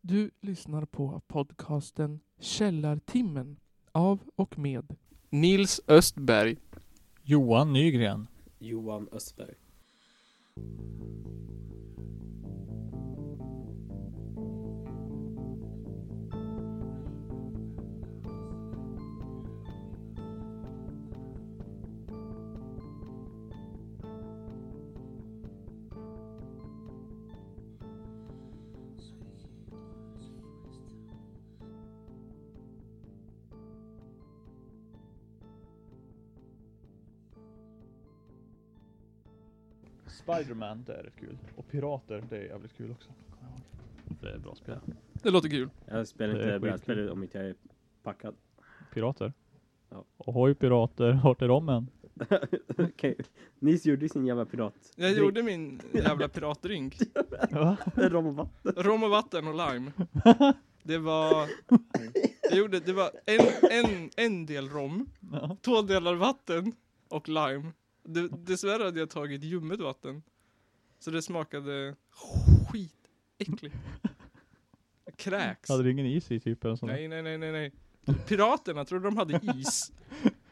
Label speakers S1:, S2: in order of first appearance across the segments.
S1: Du lyssnar på podcasten Källartimmen av och med Nils Östberg.
S2: Johan Nygren.
S3: Johan Östberg.
S4: Spiderman, det är rätt kul. Och Pirater, det är jävligt kul också. Kommer jag ihåg. Det är bra spel.
S1: Det låter kul.
S3: Jag spelar
S4: Det är
S3: inte
S4: skitkul.
S3: brädspel om inte jag är packad.
S2: Pirater.
S3: Ja.
S2: Ohoj pirater, hört er om en?
S3: Okej, Nils gjorde ju sin jävla pirat.
S1: Jag gjorde min jävla piratdrink.
S2: Va?
S3: En rom och vatten.
S1: Rom och vatten och lime. Det var... Jag gjorde, det var en, en, en del rom,
S2: Ja.
S1: två delar vatten och lime. De, dessvärre hade jag tagit ljummet vatten. Så det smakade skitäckligt. Kräks.
S2: Hade du ingen is i typ? En sån?
S1: Nej, nej, nej, nej, nej. Piraterna trodde de hade is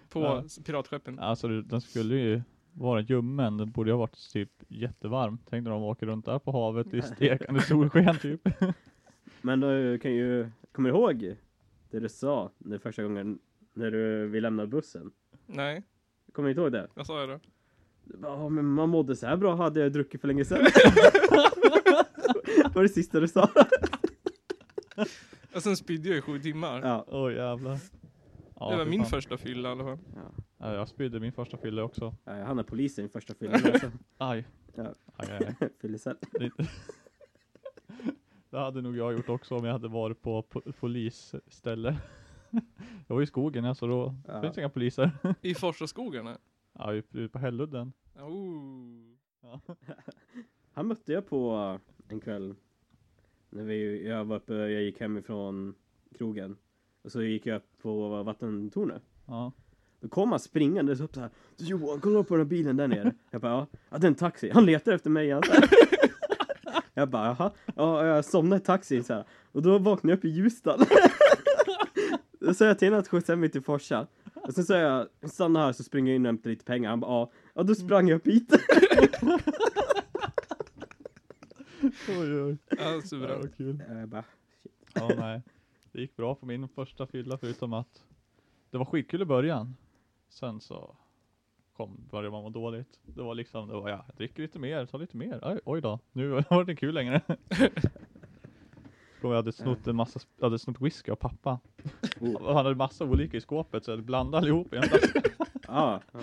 S1: på
S2: Ja.
S1: piratskeppen.
S2: Alltså det- den skulle ju vara ljummen, den borde ju ha varit typ jättevarm. Tänk när de åker runt där på havet i stekande solsken typ.
S3: Men du kan ju, kommer du ihåg det du sa när första gången när du vill lämna bussen?
S1: Nej,
S3: Kommer du inte ihåg det?
S1: vad sa jag då?
S3: Du bara, Ja, men man mådde så här bra hade jag druckit för länge sedan. det var det sista du sa.
S1: Och sen spydde jag i sju timmar.
S3: Ja.
S2: Åh jävlar. Ja,
S1: det var
S2: fy
S1: min
S2: fan.
S1: första fylla i alla fall.
S2: Ja, jag spydde min första fylla också.
S3: Ja, Jag hann polisen i första filmen också.
S2: Aj.
S3: Ja.
S2: Aj, aj, aj.
S3: Fyllecell.
S2: Det- Det hade nog jag gjort också om jag hade varit på po- polisställe. Jag var i skogen alltså, då
S3: Ja.
S2: finns inga poliser.
S1: I Forsaskogarna.
S2: Ja, ute på Hälludden.
S1: Oh.
S2: Ja.
S3: Han mötte jag på en kväll. När vi, jag, var uppe, jag gick hemifrån krogen. Och så gick jag upp på vattentornet.
S2: Ja.
S3: Då kom han springandes upp så här. Du Johan, kolla på den här bilen där nere. Jag bara, ja. ja det är en taxi. Han letar efter mig. Han, så här. jag bara, jaha. Ja, jag somnade i taxin så här. Och då vaknade jag upp i Ljusdal. Då sa jag till honom att skjutsa mig till Forsa. Och sen sa jag, stanna här så springer jag in och hämtar lite pengar. Han bara, ja. Ja, då sprang jag upp hit.
S2: Oj, oj.
S1: Ja, så
S2: Ja,
S1: bra.
S2: vad kul.
S3: Jag bara,
S2: Ja, nej. Det gick bra på min första fylla förutom att det var skitkul i början. Sen så kom, började man må dåligt. Det var liksom, det var ja, jag dricker lite mer, tar lite mer. Oj, oj då, nu var det inte kul längre. Kommer jag hade snott en massa, jag hade snott whisky av pappa.
S3: oh.
S2: Han hade massa olika i skåpet så jag blandade allihop i en flaska.
S3: ja. ja.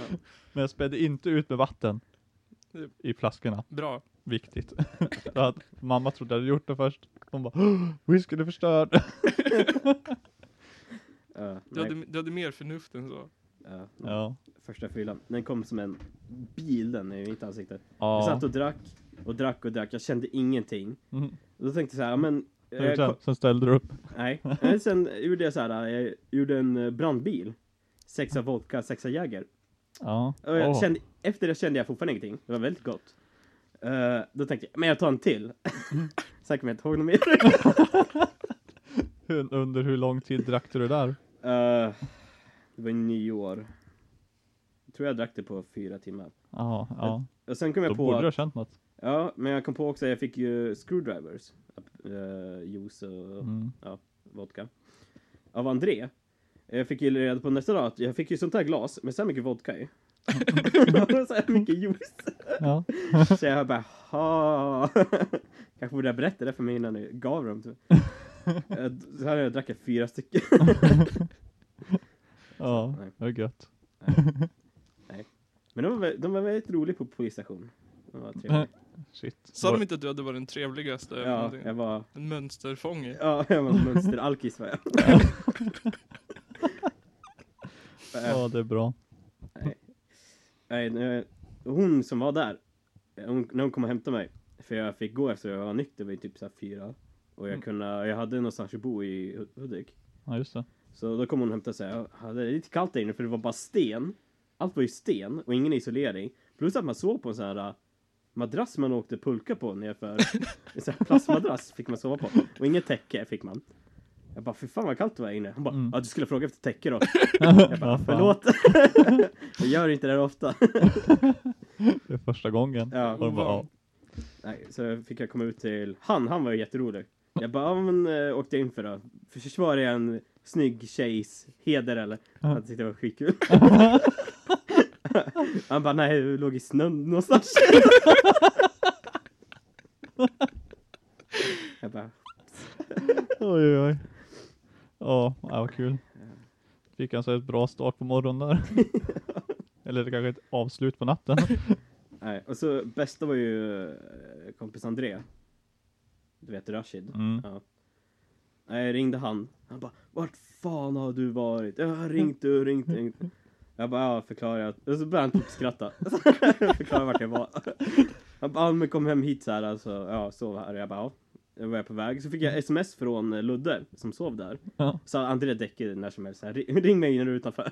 S2: Men jag spädde inte ut med vatten i flaskorna.
S1: Bra.
S2: Viktigt. För att mamma trodde jag hade gjort det först. Hon bara "Åh, ”Whiskyn är förstörd”.
S3: Ja,
S1: Du hade, du hade mer förnuft än så.
S3: ja,
S2: Ja.
S3: Första fyllan. Den kom som en bil den i mitt ansikte. Jag
S2: ja.
S3: satt och drack och drack och drack. Jag kände ingenting.
S2: Mm.
S3: Och då tänkte jag så här, ja, men... eh,
S2: Sen,
S3: ko-
S2: sen ställde du upp.
S3: nej. Men sen gjorde jag så här, jag gjorde en eh, brandbil. Sexa vodka, sexa Jäger.
S2: Ja.
S3: Och jag
S2: Åh.
S3: kände, efter det kände jag fortfarande ingenting. Det var väldigt gott. Eh, då tänkte jag, men jag tar en till.
S2: Mm.
S3: Sen kommer jag inte ihåg något mer.
S2: Hur- Under hur lång tid drack du det där?
S3: Eh, det var nyår. Jag tror jag drack det på fyra timmar.
S2: Ja, ja.
S3: Och sen kom jag
S2: Då
S3: på
S2: borde du
S3: att-
S2: ha känt något.
S3: Ja, men jag kom på också att jag fick ju screwdrivers. eh, juice och
S2: Mm.
S3: vodka. Av André. Jag fick ju reda på nästa dag att jag fick ju sånt här glas med så här mycket vodka i. och så här mycket juice.
S2: Ja.
S3: Så jag bara, ha. Kanske borde jag berätta det för mig innan jag gav dem. till- Eh, Så här har jag drack fyra stycken.
S2: ja,
S3: Nej.
S2: det är gött.
S3: Men de var, vä- de var väldigt roliga på polisstationen. De var trevliga.
S2: Shit.
S1: Sa
S2: Var-
S1: de inte att du hade varit den trevligaste? eller
S3: Ja,
S1: någonting?
S3: jag var,
S1: En mönsterfånge?
S3: ja, jag var mönsteralkis var jag. Eh,
S2: Ja, det är bra.
S3: Nej. Nej, nu- hon som var där, eh, hon, när hon kom och hämtade mig, för jag fick gå efter jag var nykter vid typ så här fyra. Och jag,
S1: Mm.
S3: kunde, jag hade någonstans att bo i Hu- Hudik.
S2: Ja, just det.
S3: Så då kom hon och hämtade sig. Jag hade det lite kallt där inne för det var bara sten. Allt var ju sten och ingen isolering. Plus att man sov på en sån här eh, madrass man åkte pulka på nerför. En sån här plastmadrass fick man sova på. Och inget täcke fick man. Jag bara, fy fan vad kallt det var här inne. Hon bara,
S2: Mm.
S3: ja du skulle fråga efter täcke då.
S2: Jag
S3: bara, Förlåt. jag gör inte det här ofta.
S2: Det är första gången.
S3: Ja.
S1: Oh,
S2: Och de bara, ja.
S3: Nej, så fick jag komma ut till han, han var ju jätterolig. Jag bara, ja men äh, åkte in för då. Försvarar jag en snygg tjejs heder eller? Han tyckte det var skitkul. han bara, nej du låg i snön någonstans. jag bara,
S2: Oj, oj, oj. Ja, ja, vad kul. Fick alltså ett bra start på morgonen där. Eller kanske ett avslut på natten.
S3: nej. Och så bästa var ju eh, kompis André. Du vet Rashid.
S2: Mm.
S3: Ja. Nej, jag ringde han. Han bara, vart fan har du varit? Jag har ringt och ringt och ringt. Jag bara, ja, förklarar jag. Och så började han typ skratta. förklarar vart jag var. Han bara, ja, men kom hem hit så här, alltså, ja, sov här. Jag bara, ja. Då var jag på väg. Så fick jag sms från eh, Ludde, som sov där.
S2: Ja.
S3: Så André däckade när som helst. Så här, "Ring- Ring mig när du är utanför.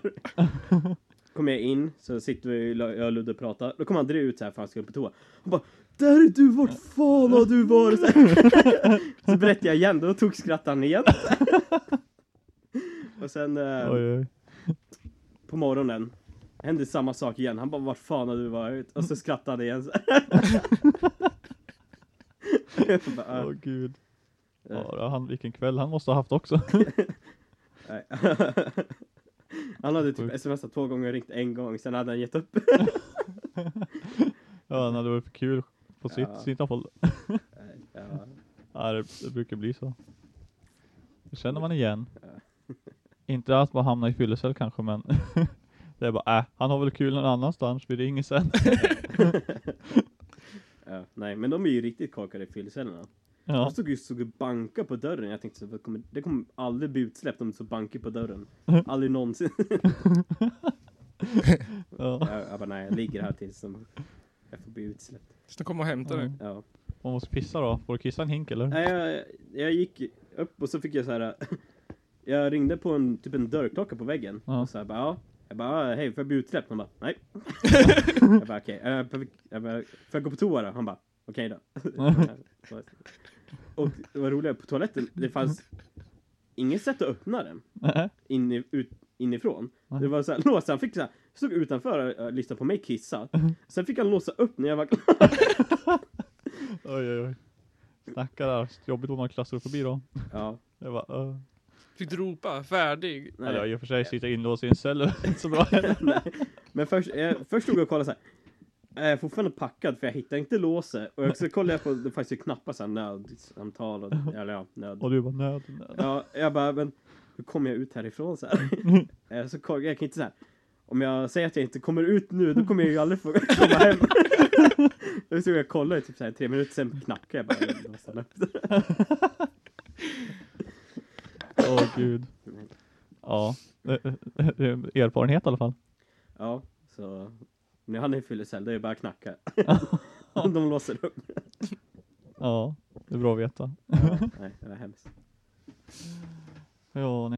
S3: Kom jag in, så sitter vi, jag och Ludde och pratar. Då kom André ut så här för han skulle på toa. Han bara, där är du, vart fan har du varit? Så här. Så berättade jag igen, då tog skrattaren igen. och sen eh,
S2: Oj, oj.
S3: på morgonen hände samma sak igen. Han bara, vart fan har du varit? Och så skrattade han igen. Så jag bara,
S2: Åh
S3: "Ah,
S2: gud. Ja, då han, vilken kväll han måste ha haft också.
S3: nej." Han hade typ smsat två gånger och ringt en gång, sen hade han gett upp.
S2: Ja, han hade varit för kul på sitt,
S3: Ja.
S2: sitt håll.
S3: Ja,
S2: Ja, det, det brukar bli så. Det känner man igen. Inte att man hamnar i fyllecell kanske, men det är bara, äh, han har väl kul någon annanstans, vi ringer sen.
S3: ja, nej, men de är ju riktigt kakade i fyllecellerna.
S2: Ja,
S3: De stod ju såg och banka på dörren. Jag tänkte så, vad kommer, det kommer aldrig bli utsläppt om det så banker på dörren. Aldrig någonsin.
S2: ja.
S3: jag, jag bara, nej, jag ligger här tills de, jag får bli utsläppt.
S1: Så de kommer och hämtar dig.
S3: Ja.
S2: Man måste pissa då, får du kissa en hink eller?
S3: Nej, jag, jag gick upp och så fick jag så här. Jag ringde på en, typ en dörrklocka på väggen.
S2: Ja.
S3: Och så här, bara, ja. Jag bara, "Ah, hej, får jag bli utsläppt? Han bara, nej. jag bara, okej. eh, får vi- jag bara, Får jag gå på toa då? Han bara, okej då. och det var roligt, på toaletten, det fanns inget sätt att öppna den.
S2: Nej.
S3: in i, ut, inifrån.
S2: Mm.
S3: Det var så här, låsa, han fick så här, stod utanför och uh, lyssnade på mig kissa. Sen fick han låsa upp när jag var klar.
S2: Oj, oj, oj. Snackar där, jobbigt om man klassar förbi då.
S3: ja,
S2: Det var, uh.
S1: Fick du ropa färdig?
S3: nej.
S2: Eller i och för sig, sitta inlåst i en cell är inte så bra heller.
S3: Men först, jag, först stod jag och kollade så här. Jag är fortfarande packad för jag hittar inte låset. Och så kollade jag på, det fanns ju knappar såhär nödsamtal och, eller ja, nöd.
S2: Och du bara, nöd, nöd.
S3: Ja, jag bara, men hur kommer jag ut härifrån så här? Eh, så kollade jag, jag kan inte så här. Om jag säger att jag inte kommer ut nu, då kommer jag ju aldrig få komma hem. Då stod jag och kollade i typ så här, tre minuter, sen knackade jag bara. och låste den upp.
S2: Åh gud. Ja, det det är en erfarenhet i alla fall.
S3: Ja, så nu han är i fyllecell, det är bara att knacka. De låser upp.
S2: Ja, det är bra att veta.
S3: Ja, nej, det var hemskt.
S2: Ja, nej.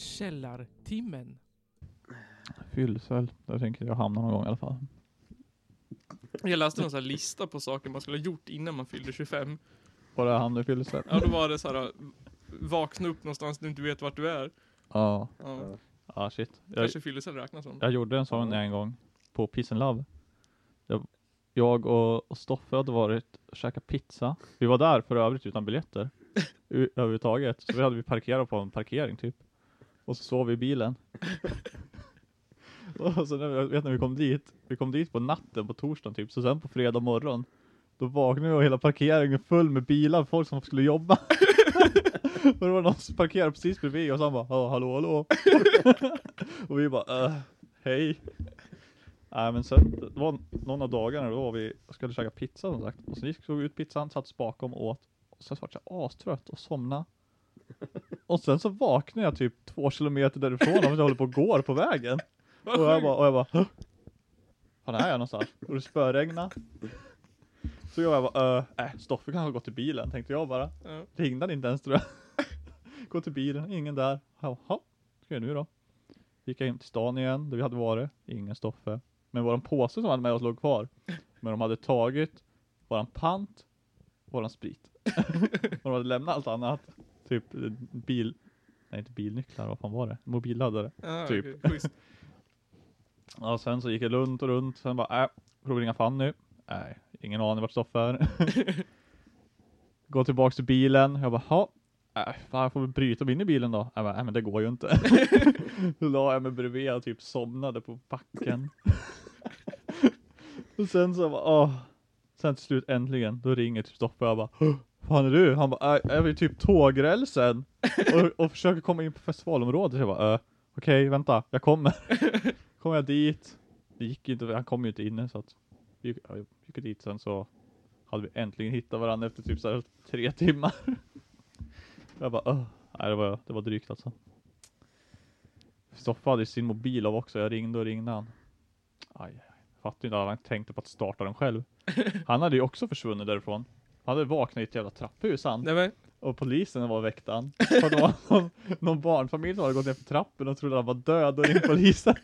S1: Källartimmen.
S2: Fyllsel. Där tänker jag hamna någon gång i alla fall.
S1: Jag läste någon sån här lista på saker man skulle ha gjort innan man fyllde 25.
S2: Bara hamna i fyllsel.
S1: Ja, då var det så här. Vakna upp någonstans du inte vet vart du är.
S2: Ja.
S1: Ja,
S2: Ja, shit. Jag,
S1: kanske fyllecell räknas som.
S2: jag gjorde en sån en gång på Peace and Love. Jag, jag och, och Stoffe hade varit och käkat pizza. Vi var där för övrigt utan biljetter. U- överhuvudtaget. Så vi hade vi parkerat på en parkering typ. Och så sov vi i bilen. och så när, vi- jag vet när vi kom dit. Vi kom dit på natten på torsdagen typ. Så sen på fredag morgon. Då vaknade vi och hela parkeringen full med bilar. Folk som skulle jobba. och det var någon som parkerade precis bredvid. Och så han bara "Ja, hallå hallå. och vi bara "Eh, hej. Nej men sen, det var någon av dagarna då var vi och skulle käka pizza som sagt. Och så gick såg vi ut pizzan, satt bakom och åt. Och sen vart jag astrött och somna. Och sen så vaknade jag typ två kilometer därifrån och jag håller på och går på vägen.
S1: Vad
S2: Och jag
S1: sjukt.
S2: bara, och jag bara "Hå? Fan är jag någonstans? Och det spöregnade. Så jag bara, äh, äh Stoffe kanske har gått till bilen tänkte jag bara.
S1: Ja.
S2: Ringde han inte ens tror jag. Gå till bilen, ingen där. Jaha, vad ska jag nu då? Gick jag hem till stan igen, där vi hade varit. Ingen Stoffe. Men våran påse som vi hade med oss låg kvar. Men de hade tagit våran pant, våran sprit. och de hade lämnat allt annat. Typ eh, bil, nej inte bilnycklar, vad fan var det? Mobilladdare.
S1: Ah,
S2: Typ.
S1: okej, schysst.
S2: Ja, sen så gick jag runt och runt, sen bara, äh, får du ringa Fanny? Nej, ingen aning vart Stoffe är. Gå tillbaks till bilen, jag bara, ha, äh, fan jag får väl bryta mig in i bilen då? Jag bara, äh, men det går ju inte. Då la jag mig bredvid och typ somnade på backen. och sen så bara, åh. Sen till slut äntligen, då ringer typ Stoffe och jag bara, "Åh, fan är du? Han bara, äh, jag är vid typ tågrälsen och, och försöker komma in på festivalområdet. Jag bara, äh, okej, vänta, jag kommer kom jag dit. Det gick ju inte, han kom ju inte inne så att vi gick, ja, jag gick dit sen så hade vi äntligen hittat varandra efter typ så här tre timmar. Jag bara "Åh." Nej, det var, det var drygt alltså. Stoffe hade ju sin mobil av också, jag ringde och ringde han. Aj, aj, aj. fattar ju inte att han tänkte på att starta den själv. Han hade ju också försvunnit därifrån. Han hade vaknat i ett jävla trapphus han.
S1: Nej men,
S2: Och polisen var och väckte han. För det var någon, någon barnfamilj som hade gått ner för trappen och trodde han var död och ringt polisen.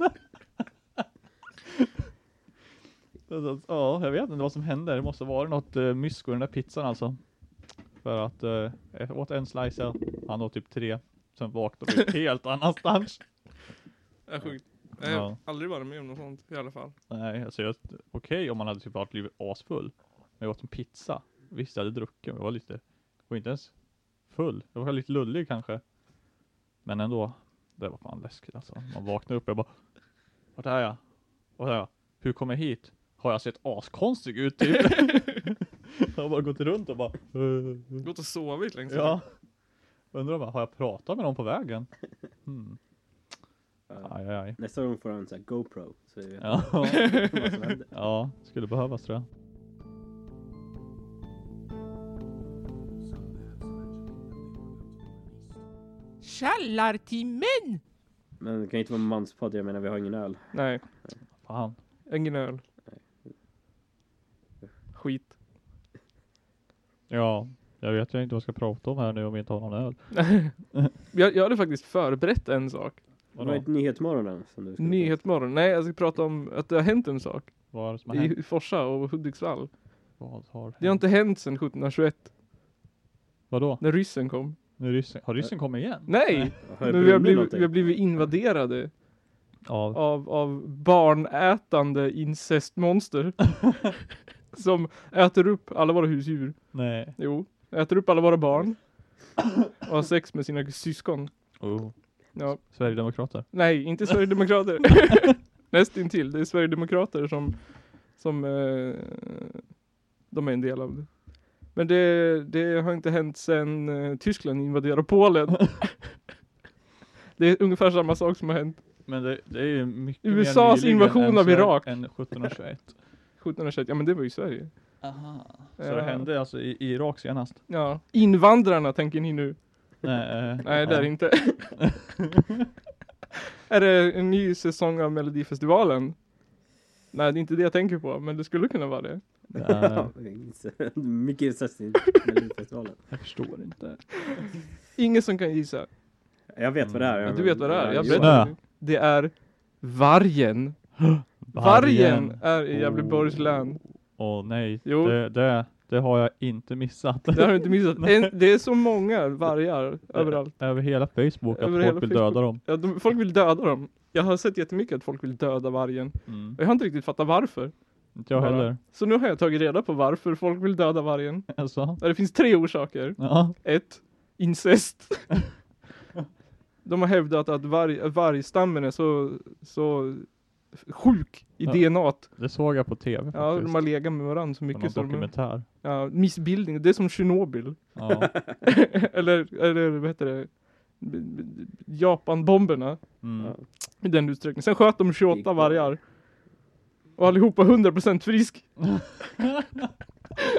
S2: Så att, Ja, jag vet inte vad som hände. Det måste vara något uh, mysko i den där pizzan alltså. För att eh, jag åt en slice, ja. han åt typ tre. Sen vaknade vi upp helt annanstans.
S1: det är sjukt. Jag har
S2: Ja.
S1: aldrig varit med om något sånt i alla fall.
S2: Nej, alltså jag, okej om man hade typ varit blivit asfull. Men jag åt en pizza. Visst, jag hade druckit, men jag var lite, jag var inte ens full. Jag var lite lullig kanske. Men ändå, det var fan läskigt alltså. Man vaknade upp och jag bara, vart är jag? Vart är jag? Hur kom jag hit? Har jag sett askonstig ut typ? jag har bara gått runt och bara, "Eh."
S1: Gått och sovit längs
S2: ja. Undrar bara, har jag pratat med någon på vägen? Hmm.
S3: Ja.
S2: Aj, aj, aj.
S3: Nästa gång får han en sån här GoPro. Så vi vet
S2: Ja.
S3: vad som händer.
S2: Ja, skulle behövas tror jag.
S1: Källartimmen!
S3: Men det kan ju inte vara en manspodd, jag menar vi har ingen öl.
S1: Nej,
S2: Fan.
S1: ingen öl. Skit.
S2: Ja, jag vet ju inte vad jag ska prata om här nu om vi inte har någon öl.
S1: jag, jag hade faktiskt förberett en sak.
S3: Det var ju ett Nyhetsmorgonen som du skulle
S1: Nyhetsmorgon. Nej, jag ska prata om att det har hänt en sak.
S2: Vad är det som har hänt?
S1: I Forsa och Hudiksvall.
S2: Vad har
S1: Det har inte hänt sedan 1721,
S2: Vadå?
S1: när ryssen kom.
S2: Nu är ryssen, har ryssen kommit igen?
S1: Nej!
S3: prata om.
S1: Men vi har blivit, vi har blivit invaderade
S2: Ja.
S1: av, av barnätande incestmonster. som äter upp alla våra husdjur.
S2: Nej.
S1: Jo, äter upp alla våra barn. Och har sex med sina syskon.
S2: Oh.
S1: Ja.
S2: Sverigedemokrater.
S1: Nej, inte Sverigedemokrater. Nästintill. Det är Sverigedemokrater som, som eh, de är en del av det. Men det, det har inte hänt sedan eh, Tyskland invaderade Polen. det är ungefär samma sak som har hänt
S2: Men det, det är ju mycket mer
S1: USAs
S2: nyligen
S1: invasion
S2: än
S1: av
S2: Sverige-
S1: Irak.
S2: Än 1721.
S1: 1721. Ja men det var ju Sverige.
S2: Aha. Så
S1: Ja.
S2: det hände alltså i, i Irak senast?
S1: Ja. Invandrarna tänker ni nu.
S2: Nej, eh,
S1: Nej, det är
S2: ja.
S1: det inte. är det en ny säsong av Melodifestivalen? Nej, det är inte det jag tänker på, men det skulle kunna vara det.
S2: Nej,
S3: Mycket incest i Melodifestivalen.
S2: jag förstår inte.
S1: Ingen som kan gissa.
S3: Jag vet vad det är.
S1: Ja, du vet vad det är? Jag
S3: Johan.
S2: berättar.
S1: berättade det. Det är vargen. Vargen, är i Gävleborgs
S2: Oh.
S1: län.
S2: Åh nej,
S1: Jo.
S2: det, det, det har jag inte missat.
S1: Det har du inte missat. En, det är så många vargar överallt.
S2: Över hela Facebook,
S1: Över
S2: att
S1: hela
S2: folk vill
S1: Facebook.
S2: döda dem.
S1: Ja, de, folk vill döda dem. Jag har sett jättemycket att folk vill döda vargen.
S2: Mm.
S1: Och jag har inte riktigt fattat varför.
S2: Inte jag
S1: Bara.
S2: heller.
S1: Så nu har jag tagit reda på varför folk vill döda vargen.
S2: Alltså.
S1: Ja, Det finns tre orsaker.
S2: Ja.
S1: Ett, incest. De har hävdat att varg, vargstammen är så, så sjuk i
S2: Ja.
S1: DNA. -t.
S2: Det såg jag på tv
S1: Ja,
S2: faktiskt.
S1: de har legat med varandra så mycket.
S2: på
S1: Så
S2: någon
S1: de,
S2: dokumentär.
S1: Ja, missbildning. Det är som Tjernobyl.
S2: Ja.
S1: eller, eller vad heter det? B- b- Japanbomberna.
S2: Mm.
S1: I den utsträckningen. Sen sköt de 28
S3: Gick det?
S1: vargar. Och allihopa 100% frisk.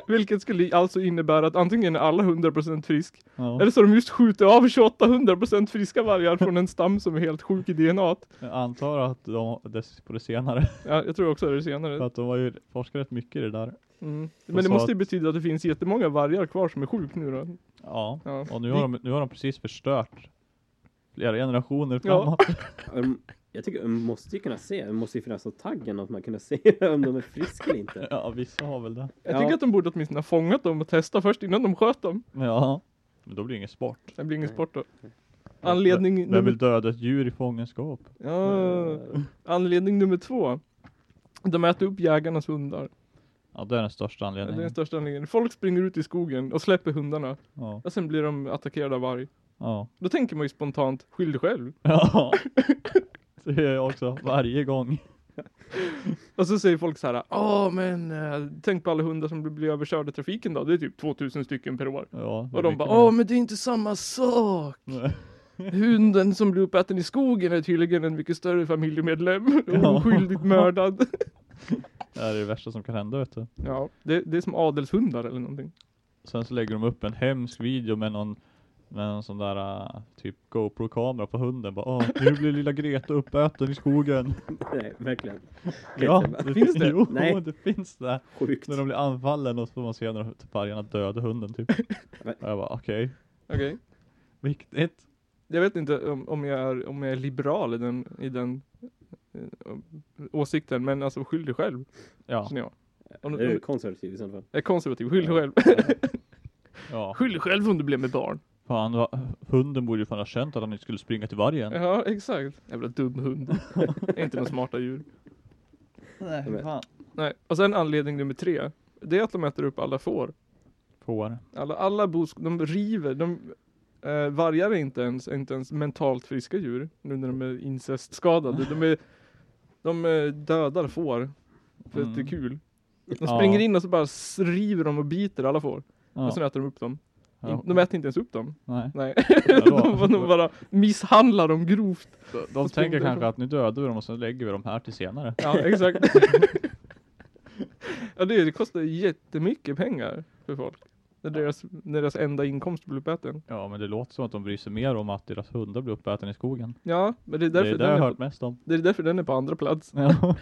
S1: Vilket skulle alltså innebära att antingen är alla 100% frisk.
S2: Ja.
S1: Eller så har de just skjutit av 28 100% friska vargar från en stam som är helt sjuk i DNA. -t.
S2: Jag antar att de, det, på det senare,
S1: Ja, jag tror också det är det senare.
S2: för att de har ju forskat rätt mycket i det där.
S1: Mm.
S2: Och
S1: Men det
S2: så
S1: måste ju
S2: att-
S1: betyda att det finns jättemånga vargar kvar som är sjuk nu då.
S2: Ja,
S1: Ja.
S2: och nu har, de, nu har de precis förstört flera generationer framåt.
S3: Um, Jag tycker man måste ju kunna se, det måste ju finnas någon tagg eller något man kunna se om de är friska eller inte.
S2: Ja, vissa har väl det.
S1: Jag
S3: Ja.
S1: tycker att de borde åtminstone ha fångat dem och testat först innan de sköt dem.
S2: Ja, men då blir det ingen sport.
S1: Det blir ingen sport då.
S2: Ja,
S1: Anledning
S2: Vem
S1: nummer-
S2: vill döda ett djur i fångenskap?
S1: Ja. Anledning nummer två. De äter upp jägarnas hundar.
S2: Ja, det är den största
S1: Det är
S2: anledningen.
S1: den största anledningen. Folk springer ut i skogen och släpper hundarna.
S2: Ja,
S1: Och sen blir de attackerade av varg.
S2: ja,
S1: Då tänker man ju spontant, skyll dig själv.
S2: ja. Det gör jag också varje gång.
S1: Och så säger folk så här, ja men eh, tänk på alla hundar som blir överkörda i trafiken då. Det är typ 2000 stycken per år.
S2: Ja, det är
S1: Och de
S2: mycket
S1: bara,
S2: mer.
S1: åh men det är inte samma sak.
S2: Nej.
S1: Hunden som blev uppäten i skogen är tydligen en mycket större familjemedlem.
S2: Ja.
S1: Oskyldigt mördad.
S2: Det här är det värsta som kan hända vet du.
S1: Ja, det, det är som adelshundar eller någonting.
S2: Sen så lägger de upp en hemsk video med någon med en sån där äh, typ GoPro-kamera på hunden. Bara, Åh, nu blir lilla Greta uppäten i skogen.
S3: Nej, verkligen.
S2: ja,
S3: Greta bara,
S2: det
S1: finns det?
S2: Jo,
S3: Nej.
S2: det finns det.
S3: Sjukt.
S2: När de blir anfallen och så får man se när de- typ vargarna dödar hunden typ.
S3: Men-
S2: Och jag bara okej,
S1: Okej.
S2: viktigt.
S1: Jag vet inte om, om, jag, är, om jag är liberal i den, i den eh, åsikten, men alltså skyll dig själv,
S2: Ja,
S1: känner jag. Om,
S3: Är du
S1: om,
S3: konservativ i så fall?
S1: jag är konservativ, skyll dig själv.
S2: ja.
S1: Skyll dig själv om du blev med barn.
S2: Fan, va, hunden borde ju fan ha känt att han inte skulle springa till vargen.
S1: Ja, exakt. Jävla dum hund. Det är inte några smarta djur.
S2: Nej, fan.
S1: Nej, och sen anledning nummer tre. Det är att de äter upp alla får.
S2: Får.
S1: Alla, alla bosk, de river, de eh, vargar är inte ens, är inte ens mentalt friska djur nu när de är incestskadade. De, är, de eh, dödar får för att det är
S2: Mm.
S1: kul. De
S2: Ja.
S1: springer in och så bara s- river de och biter alla får.
S2: Ja.
S1: Och sen äter de upp dem.
S2: Ja.
S1: In- De äter inte ens upp dem.
S2: Nej.
S1: Nej.
S2: Vadå?
S1: de, de bara misshandlar dem grovt.
S2: De,
S1: springer
S2: de tänker
S1: därifrån.
S2: kanske att nu dödar vi dem och sen lägger vi dem här till senare.
S1: Ja, exakt. ja, det, det kostar jättemycket pengar för folk. När deras, när deras enda inkomst blir uppäten.
S2: Ja, men det låter som att de bryr sig mer om att deras hundar blir uppätna i skogen.
S1: Ja, men det är
S2: det
S1: därför,
S2: är det
S1: den,
S2: jag har
S1: är
S2: hört
S1: på,
S2: mest om.
S1: det är därför den är på andra plats.
S2: Ja.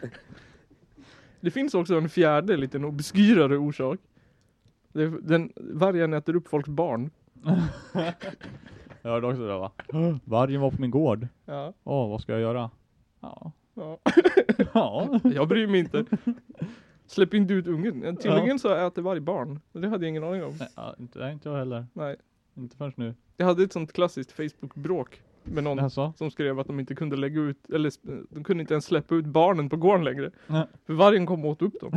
S1: Det finns också en fjärde liten obskyrare orsak. Det, är- den, vargen äter upp folks barn.
S2: Jag hörde också det där, va? Vargen var på min gård.
S1: Ja,
S2: Åh, vad ska jag göra? Ja.
S1: ja.
S2: Ja.
S1: Jag bryr mig inte. Släpp inte ut ungen. Ja, Tydligen så äter varg barn. Och Det hade jag ingen aning om.
S2: Nej, ja, inte, nej, inte jag heller.
S1: Nej.
S2: Inte förrän nu.
S1: Jag hade ett sånt klassiskt Facebook-bråk med någon
S2: Alltså,
S1: som skrev att de inte kunde lägga ut, eller sp- de kunde inte ens släppa ut barnen på gården längre.
S2: Nej.
S1: För vargen kom och åt upp dem.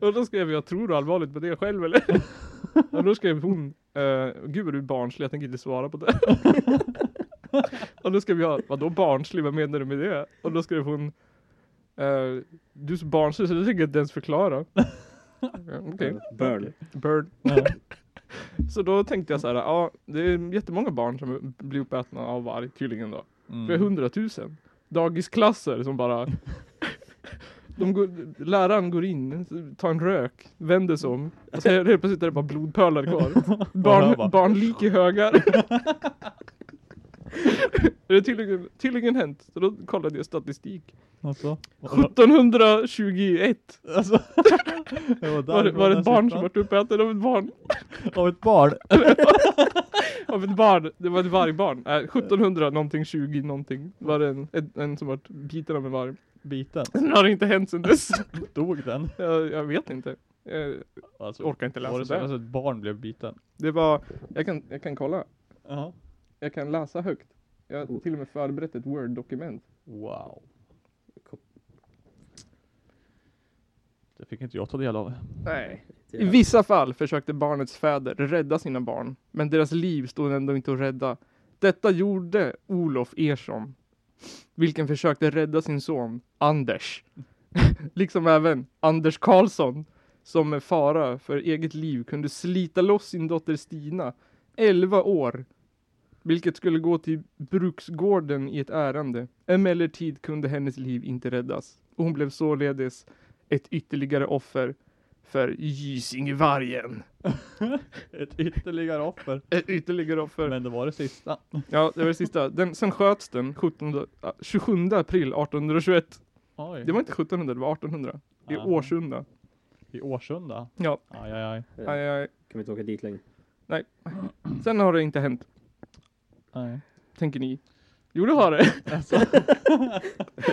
S1: och då skrev jag, tror du allvarligt på det själv eller? och då skrev hon, eh, gud vad du är barnslig, jag tänker inte svara på det. och då skrev jag, vadå barnslig, vad menar du med det? Och då skrev hon, eh, du är så barnslig så det tänker jag inte ens förklara. Okej, okay.
S3: Burn.
S1: bird.
S2: nej.
S1: Så då tänkte jag så här, ja det är jättemånga barn som blir uppätna av varg tydligen då.
S2: Mm.
S1: För hundratusen. Dagisklasser som bara de går, läraren går in, tar en rök, vänder sig om och så helt plötsligt är det bara blodpölar kvar.
S2: hör
S1: Barn,
S2: bara.
S1: barnlik i högar. Det är tydligen, tydligen hänt, så då kollade jag statistik.
S2: Alltså, var,
S1: 1721
S2: alltså, det var, där
S1: var det, var det
S2: den
S1: ett barn som
S2: siffran.
S1: vart uppätet av ett barn.
S2: Av ett barn?
S1: Av ett barn, det var ett vargbarn. Nej, 1700 någonting, 20 någonting var det en, en, en som vart biten av en varg.
S2: Biten?
S1: Sen har det inte hänt sen dess.
S2: Dog den?
S1: Jag, jag vet inte. Jag
S2: Alltså,
S1: orkar inte läsa
S2: var det
S1: det.
S2: så
S1: Där.
S2: alltså, ett barn blev biten?
S1: Det var, jag kan, jag kan kolla.
S2: Ja.
S1: Jag kan läsa högt. Jag har till och med förberett ett word-dokument.
S2: Wow. Det fick inte jag ta del av.
S1: Nej. I vissa fall försökte barnets fäder rädda sina barn, men deras liv stod ändå inte att rädda. Detta gjorde Olof Ersson, vilken försökte rädda sin son Anders. liksom även Anders Karlsson, som med fara för eget liv kunde slita loss sin dotter Stina, 11 år, vilket skulle gå till bruksgården i ett ärende. Emellertid kunde hennes liv inte räddas och hon blev således ett ytterligare offer för Gysingevargen.
S2: Ett ytterligare offer.
S1: Ett ytterligare offer.
S2: Men det var det sista.
S1: Ja, det var det sista. Den, sen sköts den 17, äh, 27 april 1821.
S2: Oj.
S1: Det var inte 1700, det var 1800. I
S2: Aha.
S1: Årsunda.
S2: I Årsunda?
S1: Ja.
S2: Aj, aj, aj.
S1: Aj, aj.
S3: Kan vi inte åka dit längre?
S1: Sen har det inte hänt,
S2: Nej.
S1: tänker ni. Jo, det har det.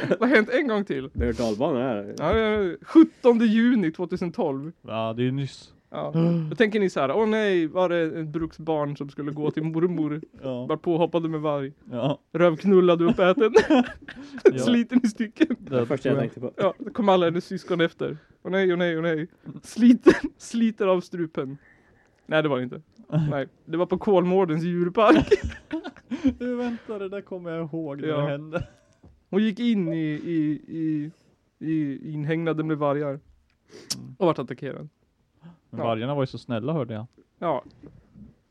S1: det har hänt en gång till.
S3: Vi har hört dalbanan här.
S1: Ja, ja, 17 juni 2012.
S2: Ja, det är ju nyss.
S1: Ja. Då tänker ni så här, åh nej, var det ett bruksbarn som skulle gå till mormor?
S2: Ja.
S1: Var påhoppade med varg.
S2: ja.
S1: Rövknullad och uppäten.
S2: Ja.
S1: Sliten i stycken.
S3: Det var det första jag tänkte på.
S1: Ja, då kom alla hennes syskon efter. Åh nej, åh nej, åh nej. Sliten, sliter av strupen. Nej, det var det inte. Nej, det var på Kolmårdens djurpark.
S2: Du vänta, det där kommer jag ihåg när
S1: Ja.
S2: det hände.
S1: Hon gick in i, i, i, i inhägnaden med vargar. Och vart attackerad.
S2: Men
S1: Ja.
S2: vargarna var ju så snälla hörde jag.
S1: Ja,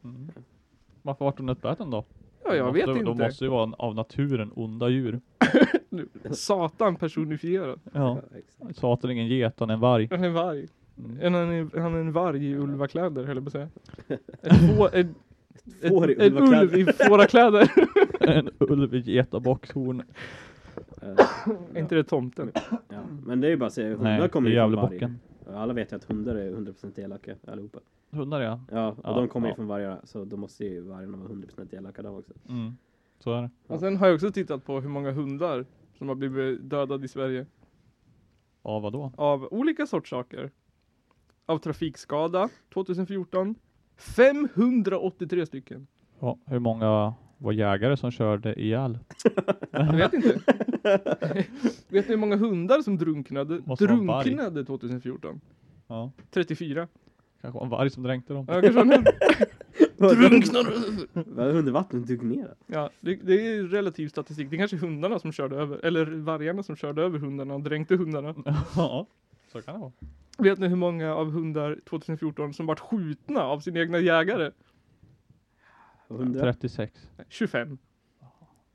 S2: Mm. Varför vart de uppäten då?
S1: ja jag
S2: De
S1: vet
S2: måste,
S1: inte.
S2: De måste ju vara en, av naturen onda djur.
S1: Satan personifierad.
S2: Ja.
S3: Ja, exakt.
S2: Satan är ingen get, han är en varg.
S1: Han är en varg.
S2: Mm.
S1: Han är, han är en varg i ulvakläder höll jag på att säga. Ett får, ett, ett,
S3: får i
S1: en ulv
S3: ulvakläder.
S1: i fårakläder.
S2: En ulv i getabockshorn.
S3: Eh,
S1: Är inte det tomten?
S3: Ja. Men det är ju bara att säga, hundar
S2: Nej, det är
S3: kommer ju från vargar.
S2: Gävlebocken.
S3: Alla vet ju att hundar är 100% elaka allihopa.
S2: Hundar ja.
S3: Ja, och
S2: Ja,
S3: de kommer ju
S2: ja.
S3: från vargar så då måste ju vargarna vara 100% elaka de också.
S2: Mm. Så är det.
S1: Och sen har jag också tittat på hur många hundar som har blivit dödade i Sverige.
S2: Ja, vadå?
S1: Av olika sorts saker. Av trafikskada 2014. 583 stycken.
S2: Ja, hur många var jägare som körde ihjäl?
S1: Jag vet inte. vet ni hur många hundar som drunknade?
S2: Måste vara en varg.
S1: Drunknade 2014.
S2: Ja,
S1: 34.
S2: kanske var en varg som dränkte dem.
S1: Ja, kanske var en hund. Drunknade!
S3: Vad, Under vattnet dog ner?
S1: Ja, det, det är relativ statistik. Det är kanske hundarna som körde över, eller vargarna som körde över hundarna och dränkte hundarna.
S2: Ja, så kan det vara.
S1: Vet ni hur många av hundar 2014 som vart skjutna av sina egna jägare?
S3: Och Hundra?
S2: 36.
S1: 25.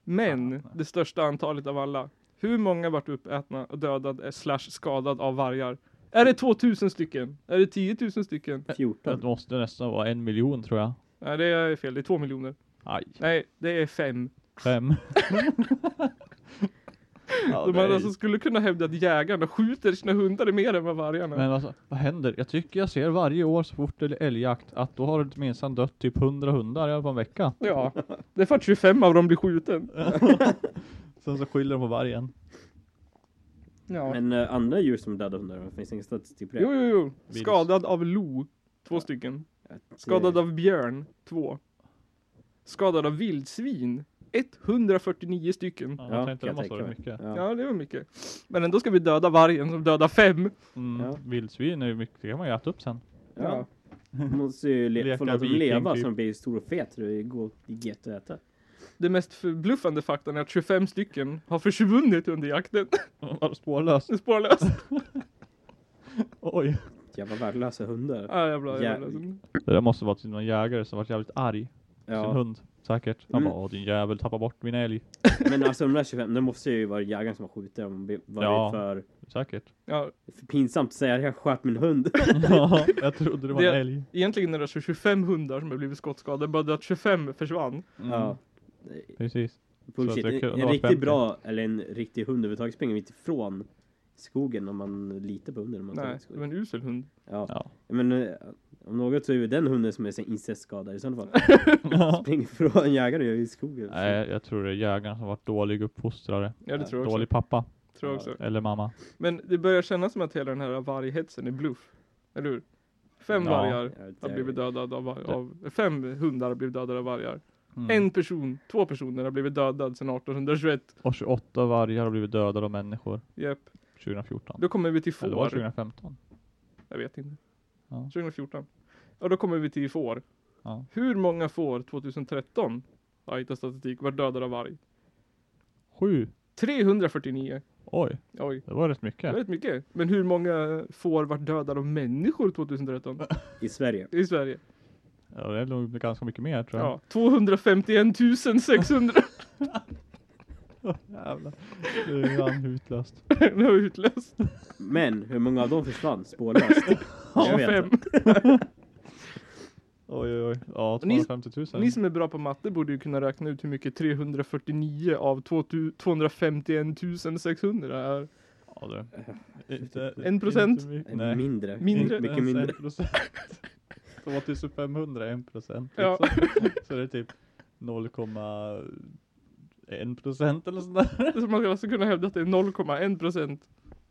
S1: Men det största antalet av alla. Hur många vart uppätna och dödad eh, slash skadad av vargar? Är det 2000 stycken? Är det 10 000 stycken?
S2: Det
S3: 14?
S2: måste nästan vara en miljon tror jag.
S1: Nej, det är fel. Det är 2 miljoner.
S2: Aj,
S1: Nej, det är 5.
S2: fem. ja,
S1: De
S2: nej.
S1: andra som skulle kunna hävda att jägarna skjuter sina hundar är mer än vad vargarna.
S2: Men alltså, vad händer? Jag tycker jag ser varje år så fort det är älgjakt att då har det minsann dött typ 100 hundar i alla fall en vecka.
S1: Ja, det är för att 25 av dem blir skjuten.
S2: Sen så skyller de på vargen.
S1: Ja.
S3: Men eh, andra djur som dödar hundar, det finns ingen statistik på det?
S1: Jo, jo, jo.
S2: Virus.
S1: Skadad av lo. Två stycken.
S3: Att,
S1: Skadad
S3: eh,
S1: av björn. Två. Skadad av vildsvin. 149 stycken.
S2: Ja,
S3: Ja,
S2: jag tänkte
S3: kan
S2: det måste
S3: jag tänka
S2: vara
S3: mig.
S2: mycket.
S3: Ja.
S1: Ja, det var mycket. Men ändå ska vi döda vargen som dödar fem.
S2: Mm,
S3: Ja.
S2: Vildsvin är ju mycket, det kan man ju äta upp sen.
S3: Ja. Man måste ju le-
S2: Leka
S3: få låta dem
S2: viking,
S3: leva
S2: typ.
S3: så de blir stor och fet så det går i gett att äta.
S1: Det mest förbluffande faktan är att 25 stycken har försvunnit under jakten.
S2: Var spårlös?
S1: Spårlöst.
S2: Oj.
S3: Jävla värdelösa hundar.
S1: Ja, jävla,
S3: Jä-
S1: jävla.
S2: Det där måste vara till någon jägare som varit jävligt arg. Sin
S3: Ja.
S2: hund. Säkert. Han
S3: Mm.
S2: bara, "Åh, din jävel tappa bort min älg.
S3: Men alltså de där 25, det måste ju vara jägaren som har skjutit dem. Var
S2: Ja.
S3: det för,
S2: Säkert.
S1: Ja,
S3: för pinsamt att säga att jag sköt min hund?
S1: Mm.
S2: ja, jag trodde det var en
S1: Det-
S2: älg.
S1: egentligen är det alltså 25 hundar som har blivit skottskadade, bara det att 25 försvann.
S2: Mm,
S3: Ja.
S2: Precis.
S3: Bullshit.
S2: det kunde
S3: En, en
S2: vara
S3: riktigt
S2: femtio.
S3: bra, eller en riktig hund överhuvudtaget springer inte ifrån skogen om man litar på hunden. Om man tar
S1: Nej,
S3: ut
S1: det var
S3: skogen.
S1: en usel hund.
S3: Ja.
S2: Ja.
S3: Men eh, om något så är det den hunden som är så incestskadad i sådana fall. Springer ifrån en jägare i skogen.
S2: Nej, jag tror det är jägaren som varit dålig uppfostrare.
S1: Ja, det
S3: Ja,
S1: tror jag också.
S2: Dålig pappa.
S1: Tror jag också.
S2: Eller mamma.
S1: Men det börjar kännas som att hela den här varghetsen är bluff. Eller hur? Fem
S2: Ja.
S1: vargar har
S3: Jag
S1: blivit dödade av, var- av Fem hundar har blivit dödade av vargar.
S2: Mm.
S1: En person, två personer har blivit dödade sedan 1821.
S2: Och 28 vargar har blivit dödade av människor
S1: Japp.
S2: 2014.
S1: Då kommer vi till
S2: Eller var det
S1: får.
S2: 2015?
S1: Jag vet inte.
S2: Ja.
S1: 2014. Ja, då kommer vi till får.
S2: Ja.
S1: Hur många får 2013? Jag har hittat statistik. Var dödade av varg.
S2: Sju?
S1: 349.
S2: Oj,
S1: Oj.
S2: det var rätt
S1: Det är
S2: mycket.
S1: väldigt mycket. Men hur många får var dödade av människor 2013?
S3: I Sverige.
S1: I Sverige?
S2: Ja, det är nog ganska mycket mer tror jag.
S1: Ja. 251 600.
S2: Jävlar. Det är ju fan utlöst.
S1: Den har utlöst.
S3: Men hur många av dem försvann spårlöst?
S1: Ja,
S3: Jag vet
S1: fem.
S2: Oj, oj, oj. Ja,
S1: Ni-
S2: 250 000.
S1: Ni som är bra på matte borde ju kunna räkna ut hur mycket 349 av 2000 251 600 är.
S2: Ja, Ja du. Inte,
S1: Eh, typ En procent?
S2: inte mycket,
S3: Nej.
S2: Nej.
S3: Mindre.
S1: Mindre.
S3: Mycket mindre.
S2: 2500 1 procent.
S1: Ja.
S2: Så det är typ 0,1 procent eller sådär.
S1: Det är som man skulle alltså kunna hävda att det är 0,1 procent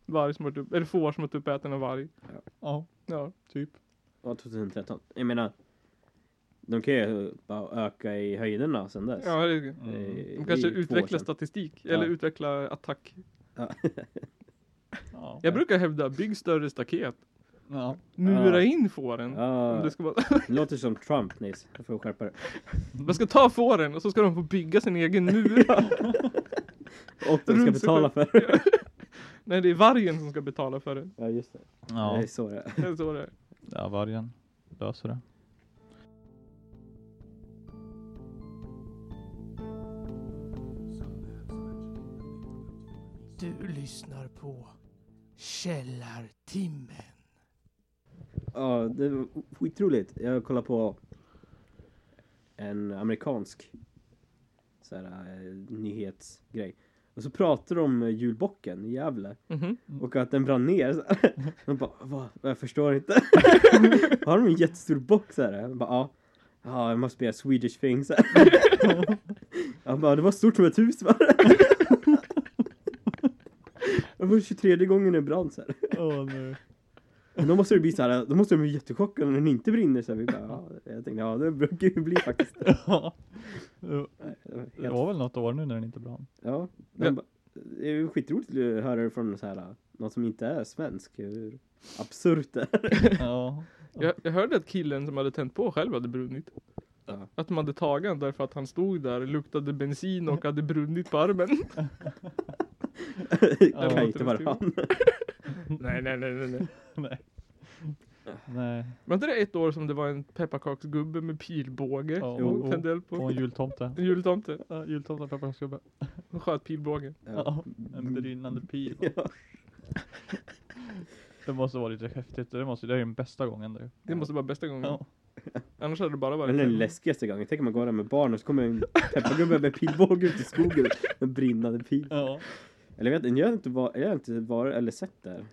S1: varg som varit upp, eller får som varit uppäten av varg.
S2: Ja,
S1: Ja.
S2: typ.
S3: Ja, 2013. Jag menar, de kan ju bara öka i höjderna sen dess.
S1: ja det
S2: Mm.
S1: är,
S3: Eh,
S1: Mm. de kanske
S3: i två år
S1: utvecklar
S3: sedan.
S1: statistik,
S3: Ja.
S1: eller utvecklar attack.
S3: Ja.
S2: Ja.
S1: Jag brukar hävda, bygg större staket.
S2: ja.
S1: Mura in fåren. Om
S3: Ja,
S1: det ska vara,
S3: det låter som Trump Nils. Jag får skärpa dig.
S1: man ska ta fåren och så ska de få bygga sin egen mur.
S3: Och de ska
S1: Runt sig
S3: betala för det.
S1: Nej, det är vargen som ska betala för det.
S3: Ja, just det. Det
S2: Ja.
S3: är så det är.
S1: Det är så det är.
S2: ja, vargen löser det.
S5: Du lyssnar på Källartimmen.
S3: Ja, det var skitroligt. Jag kollade på en amerikansk så här, eh, nyhetsgrej. Och så pratar de om eh, julbocken i Gävle.
S1: Mhm.
S3: Och att den brann ner. Så här. De bara, Va? Jag förstår inte. Har de en jättestor bock så här? Jag bara, ja. Ja, det måste be a Swedish thing. Så här. Jag bara, det var stort som ett hus va? Det var 23 gången det brann så här.
S2: Åh nej.
S3: Men då måste det bli så här, då måste de bli jättechockade när den inte brinner. Så här, vi bara, ja, jag tänkte, ja det brukar ju bli faktiskt.
S2: Ja.
S3: Det var
S2: Det
S3: helt-
S2: var väl något år nu när den inte brann.
S3: Ja,
S1: Ja.
S3: men ba- det är ju skitroligt att höra det från så här, någon som inte är svensk. Hur absurt det är.
S2: Ja.
S1: Jag, jag hörde att killen som hade tänt på själv hade brunnit.
S3: Ja.
S1: Att de hade tagit honom därför att han stod där, luktade bensin och hade brunnit på armen.
S3: Det
S2: Ja,
S3: kan ju inte vara
S1: det var
S3: han.
S1: nej, nej, nej, nej, nej.
S2: Nej.
S1: Var inte det ett år som det var en pepparkaksgubbe med pilbåge?
S2: Ja,
S1: Jo,
S2: och-
S1: tände eld
S2: Och
S1: på.
S2: en jultomte.
S1: En jultomte.
S2: Ja, jultomten pepparkaksgubbe.
S1: Han sköt pilbågen.
S3: Ja.
S2: Ja. En brinnande pil.
S3: Ja.
S2: Det måste vara lite häftigt. Det, måste, det är ju den bästa gången det.
S1: Det måste vara bästa gången.
S2: Ja.
S1: Annars hade det bara varit...
S3: Eller den läskigaste gången. Tänk om man går där med barn och så kommer en peppargubbe med pilbåge ut i skogen med brinnande pil.
S2: Ja.
S3: Eller jag vet inte, jag har inte, var, jag har inte varit eller sett det.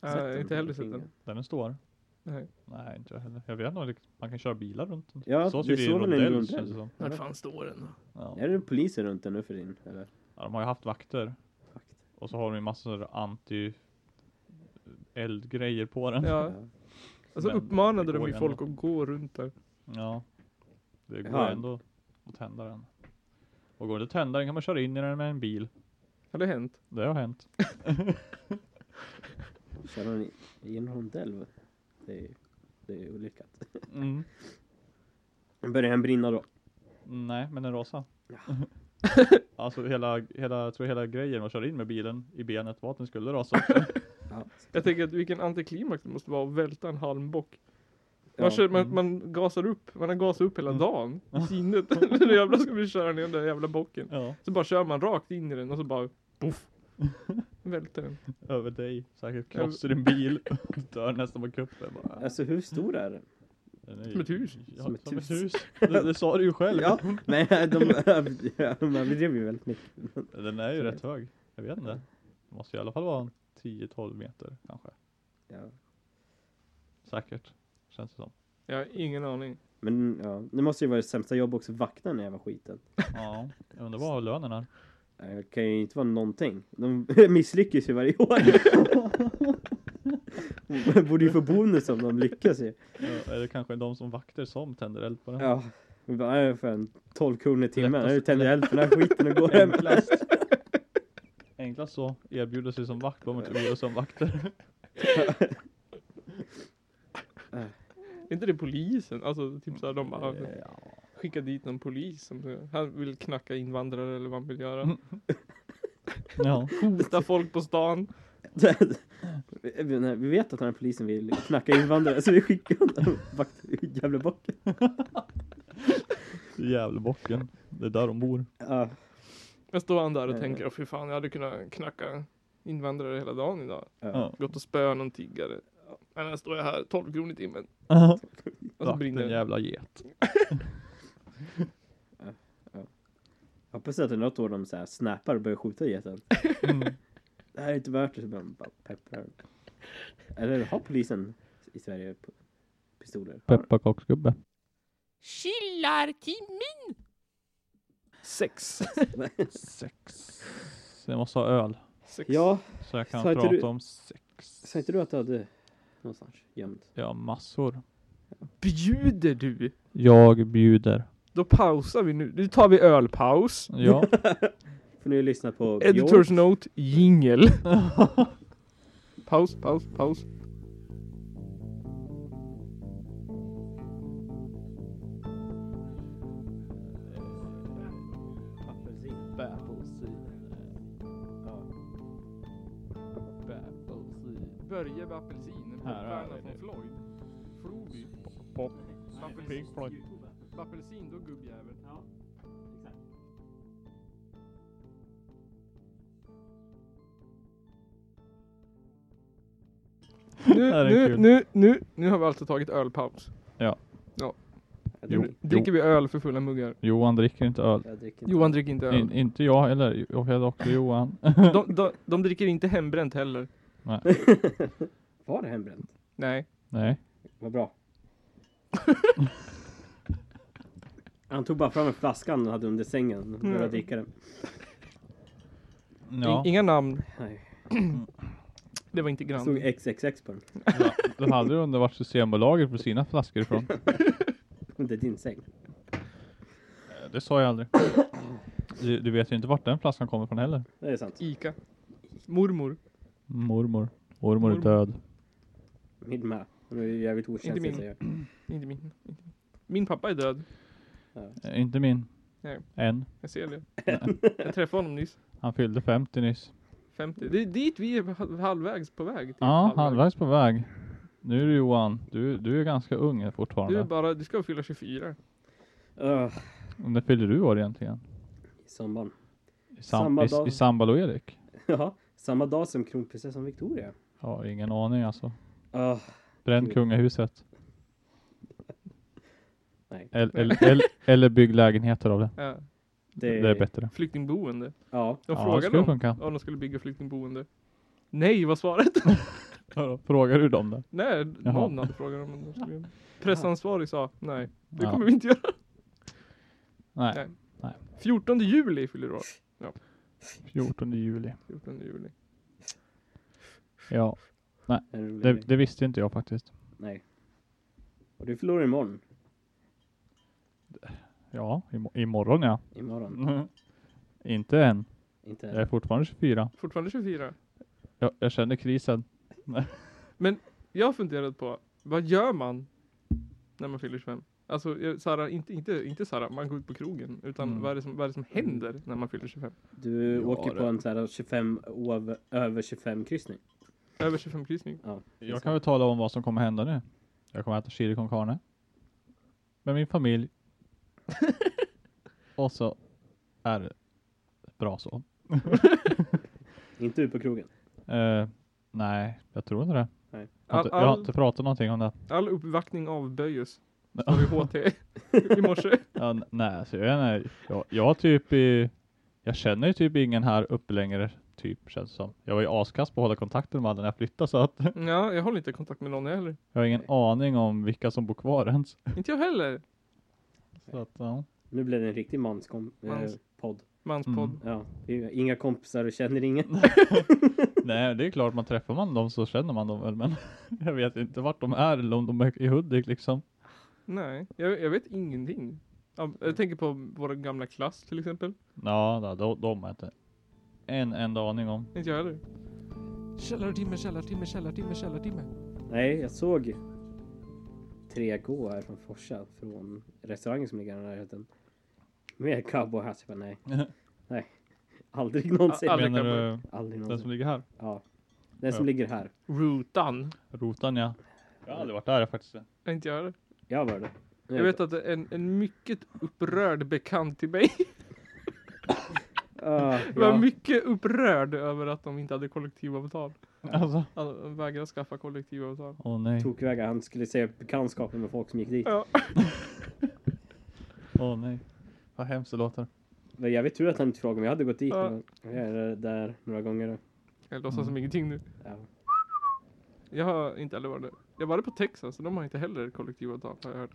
S1: Nej, inte heller sett den.
S2: Den är stor.
S1: Nej.
S2: Nej, inte jag heller. Jag vet nog, liksom, man kan köra bilar runt den.
S3: Ja,
S2: så ser
S3: det
S2: det i
S3: såg
S2: en
S3: väl en
S2: rondell
S3: rondell.
S2: känns det som.
S5: Vart fan står den då?
S2: Ja.
S3: Är det poliser runt den nu för din? Eller?
S2: ja, de har ju haft vakter. Och så har de ju massor anti eldgrejer på den.
S1: Ja. Alltså
S2: Men
S1: uppmanade
S2: det
S1: de
S2: går
S1: ju
S2: ju
S1: folk att gå runt där.
S2: Ja. Det går
S3: Jaha.
S2: ändå att tända den. Och går det att tända den kan man köra in i den med en bil.
S1: Har det hänt?
S2: Det har hänt.
S3: Kör hon i- i en rondell? va? Det är, det är olyckat.
S2: Mm.
S3: Börjar den brinna då?
S2: Nej, men den rasade. alltså hela, hela, jag tror hela grejen man körde in med bilen i benet var att den skulle rasa.
S3: Ja.
S1: Jag tänker att vilken antiklimax det måste vara att välta en halmbock. Man, kör, man, man gasar upp, man har gasat upp hela
S2: Mm.
S1: dagen i sinnet. nu jävlar ska vi köra ner den där jävla bocken.
S2: ja,
S1: Så bara kör man rakt in i den och så bara poff. Välter den.
S2: över dig. Säkert krossar din bil. Dör nästan på kuppen. Bara,
S3: Alltså hur stor är den?
S2: den är ju-
S1: Som ett hus.
S2: Ja,
S3: Som
S2: som
S3: ett
S2: ett, hus.
S3: hus.
S2: Det, det sa du ju själv.
S3: Ja, men de de överdrev ju väldigt mycket.
S2: Den är ju
S3: Så
S2: rätt hög. Jag vet inte. Det måste i alla fall vara en 10-12 meter kanske.
S3: Ja.
S2: Säkert. Känns det som.
S1: Jag har ingen aning.
S3: Men ja, det måste ju vara det sämsta jobb också, vakta den här jävla skiten.
S2: Ja, jag undrar vad lönen är.
S3: Nej, Eh, Det kan ju inte vara någonting. De misslyckas ju varje år. De Borde ju få bonus om de lyckas ju.
S2: Ja, Eller kanske de som vakter som tänder eld på den.
S3: Ja. Vi bara, "Nej, för en 12 kronor i timmen.
S2: Lätt att-
S3: Nu tänder jag eld på den här skiten och går hem.
S2: Enklast. Enklast så erbjuder sig som vakt om man inte vill som vakter.
S1: Är inte det polisen? Alltså typ såhär de bara
S2: Ja.
S1: skickar dit någon polis som han vill knacka invandrare eller vad han vill göra.
S2: Mm. Ja.
S1: Hota folk på stan.
S3: Vi vi vet att den här polisen vill knacka invandrare så vi skickar honom vakt jävla bock.
S2: Gävlebocken. Det är där de bor.
S3: Ja.
S1: Jag står han där och
S3: Eh.
S1: tänker, åh fy fan jag hade kunnat knacka invandrare hela dagen idag.
S2: Ja.
S1: Gått och spöat någon tiggare. Men här står jag här, 12 kronor i timmen. Och så
S2: Vakten
S1: brinner det.
S2: jävla get.
S3: Hoppas att det är något år de så här snappar och börjar skjuta geten.
S2: Mm.
S3: det här är inte värt det. Så bara, bara pepprar. Eller har polisen i Sverige p- pistoler?
S2: Pepparkaksgubbe.
S5: Killartimmen!
S1: Sex.
S2: Sex. Jag måste ha öl.
S1: Sex.
S3: Ja,
S2: Så jag kan
S3: Sa inte
S2: prata
S3: du-
S2: om sex.
S3: sa inte du att du hade någonstans gömt?
S2: Ja, massor.
S1: Bjuder du?
S2: Jag bjuder.
S1: Då pausar vi nu. Nu tar vi ölpaus.
S2: Ja.
S3: Får ni lyssna på
S1: Editors note, jingel. paus, paus, paus.
S3: Apelsin. Ja.
S1: Börje med apelsin.
S2: Här har jag
S1: från
S2: det.
S1: Floyd. Floby.
S2: Pop.
S1: Apelsin.
S2: Pink Floyd.
S1: Apelsin, då gubbjävel.
S2: Det här
S1: Nu, nu,
S2: är kul.
S1: nu, nu, nu har vi alltså tagit ölpaus.
S3: Jag
S1: Nu
S3: dricker-
S1: dricker vi öl för fulla muggar.
S2: Johan dricker inte öl.
S3: jag dricker inte.
S1: Johan dricker inte öl.
S2: In, inte jag heller. Jag heter också Johan.
S1: De, de, de dricker inte hembränt heller.
S3: Var det hembränt?
S1: Nej.
S2: Nej.
S3: Vad bra. Han tog bara fram en flaska han hade under sängen och började
S1: Mm.
S3: dricka den.
S2: Ja.
S1: In, inga namn.
S3: Nej.
S1: Det var inte
S3: Det
S1: grann.
S3: stod XXX på den.
S2: Den hade ju undrat vart Systembolaget får sina flaskor ifrån.
S3: Under din säng.
S2: Eh, Det sa jag aldrig. Du, du vet ju inte vart den flaskan kommer från heller.
S3: Det är sant.
S1: Ica. Mormor.
S2: Mormor. Mormor är
S1: Mormor.
S2: död.
S3: Min med. Hon är ju jävligt
S1: Inte
S3: okänslig
S1: min.
S3: säger
S1: Inte min. inte min. Min pappa är död.
S2: Eh, Inte min.
S1: Nej.
S2: Än.
S1: Jag ser det. Jag träffade honom nyss.
S2: Han fyllde 50 nyss.
S1: 50. Det är dit vi är hal- halvvägs på väg. till.
S2: Ja, halvvägs på väg. Nu är du Johan, du, du är ganska ung här
S1: Du, är
S2: fortfarande.
S1: bara, du ska fylla 24.
S3: jag. Uh,
S2: När fyller du år egentligen?
S3: I samband.
S2: I, sam,
S3: Samma dag.
S2: i, i sambal och Erik?
S3: Ja, samma dag som kronprinsessan Victoria.
S2: Ja, ingen aning alltså.
S3: Ah,
S2: Bränn
S3: Kul.
S2: kungahuset.
S3: Nej.
S2: El, el, el, eller bygg lägenheter av det.
S1: Ja.
S2: Det är bättre.
S1: Flyktingboende.
S3: Ja,
S1: De
S2: Ja, det
S1: frågade
S2: skulle
S1: om,
S2: funka.
S1: om de skulle bygga flyktingboende. Nej var svaret.
S2: Frågar du dem det?
S1: nej,
S2: Jaha.
S1: någon hade frågat om de skulle göra det. Pressansvarig sa nej, det
S2: Ja.
S1: kommer vi inte göra.
S2: Nej,
S1: Nej. 14 juli fyller du år.
S2: 14 juli.
S1: 14 juli.
S2: Ja,
S3: det är en rolig
S2: det,
S3: grej.
S2: det visste inte jag faktiskt.
S3: Nej. Och du förlorar imorgon.
S2: Ja, im- imorgon ja.
S3: Imorgon.
S2: Inte än.
S3: Inte
S2: Jag är fortfarande 24.
S1: Fortfarande 24.
S2: Jag, jag känner krisen.
S1: Jag har funderat på, vad gör man när man fyller 25? Alltså jag- Sara, inte, inte, inte Sara, man går ut på krogen. Utan
S2: Mm.
S1: vad, är det som, vad är det som händer när man fyller 25?
S3: Du
S2: Ja,
S3: åker på
S2: det-
S3: en så här 25 över, över 25 kryssning.
S1: Över 25 kryssning.
S2: Jag kan väl tala om vad som kommer hända nu. Jag kommer äta chili con carne. Med min familj. Och så är det bra så.
S3: Inte ut på krogen.
S2: Eh, nej, jag tror inte det.
S3: Nej.
S2: Jag, har inte, jag har inte pratat någonting om det.
S1: All uppvaktning avböjs. Sa vi HT i morse.
S2: Ja, n- nej, så jag, nej. Jag, jag har typ i, Jag känner ju typ ingen här uppe längre. Typ känns det som. Jag var ju askass på att hålla kontakten med alla när jag flyttade så att
S1: Ja, jag håller inte kontakt med någon heller.
S2: jag har ingen aning om vilka som bor kvar ens.
S1: Inte jag heller.
S2: Så att, ja.
S3: Nu blev det en riktig manskom... Eh,
S1: Mans.
S3: podd.
S1: Manspodd.
S2: Mm.
S3: Ja, det är ju inga kompisar och känner ingen.
S2: Nej, det är klart man träffar man dem så känner man dem väl, men jag vet inte vart de är eller om de är i Hudik liksom.
S1: Nej, jag, jag vet ingenting. Ja, Jag tänker på vår gamla klass till exempel.
S2: Ja, da, de, de har jag inte en enda aning om.
S1: Inte jag heller.
S5: Källartimme, källartimme, källartimme, källartimme.
S3: Nej, jag såg 3K här från Forsa från restaurangen som ligger i närheten. Med cowboyhatt. Jag bara, nej. nej. Aldrig någonsin.
S1: Aldrig.
S2: Menar
S1: kan
S2: du
S3: Aldrig
S2: den
S3: någonsin.
S2: som ligger här?
S3: Ja. Den som
S2: Ja.
S3: ligger här.
S1: Rutan.
S2: Rotan ja. Jag har aldrig varit där faktiskt.
S1: Inte jag heller.
S3: Jag var det.
S1: Jag vet att en, en mycket upprörd bekant till mig
S3: Ah,
S1: var
S3: ja.
S1: mycket upprörd över att de inte hade kollektivavtal.
S2: Alltså,
S1: Han vägrade skaffa kollektivavtal.
S2: åh nej,
S3: Tokvägar. Han skulle säga bekantskapen med folk som gick dit.
S1: Ja.
S2: åh nej. Vad hemskt det låter.
S3: Men Jag vet tur att han inte frågade om jag hade gått dit.
S1: Ja.
S3: men Jag är där några gånger.
S1: Jag
S2: Mm.
S1: låtsas som ingenting nu.
S3: Ja.
S1: Jag har inte heller varit där. Jag var på Texas och de har inte heller kollektivavtal har jag hört.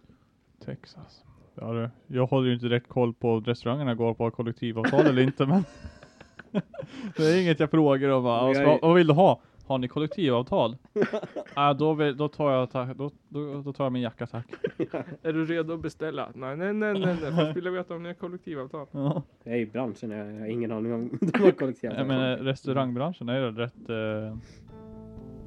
S2: Texas. Ja, du. Jag håller ju inte direkt koll på restaurangerna går på kollektivavtal eller inte men Det är inget jag frågar om bara,
S3: Men
S2: alltså,
S3: jag är-
S2: vad, vad vill du ha? Har ni kollektivavtal? ah, då, vill, då, tar jag, ta- då, då, då tar jag min jacka tack.
S1: Är du redo att beställa? Nej, nej, nej, nej, nej. Först vill jag veta om ni har kollektivavtal.
S2: Ja.
S3: Jag är i branschen, jag har ingen aning om de har kollektivavtal.
S2: Jag menar restaurangbranschen är ju rätt eh,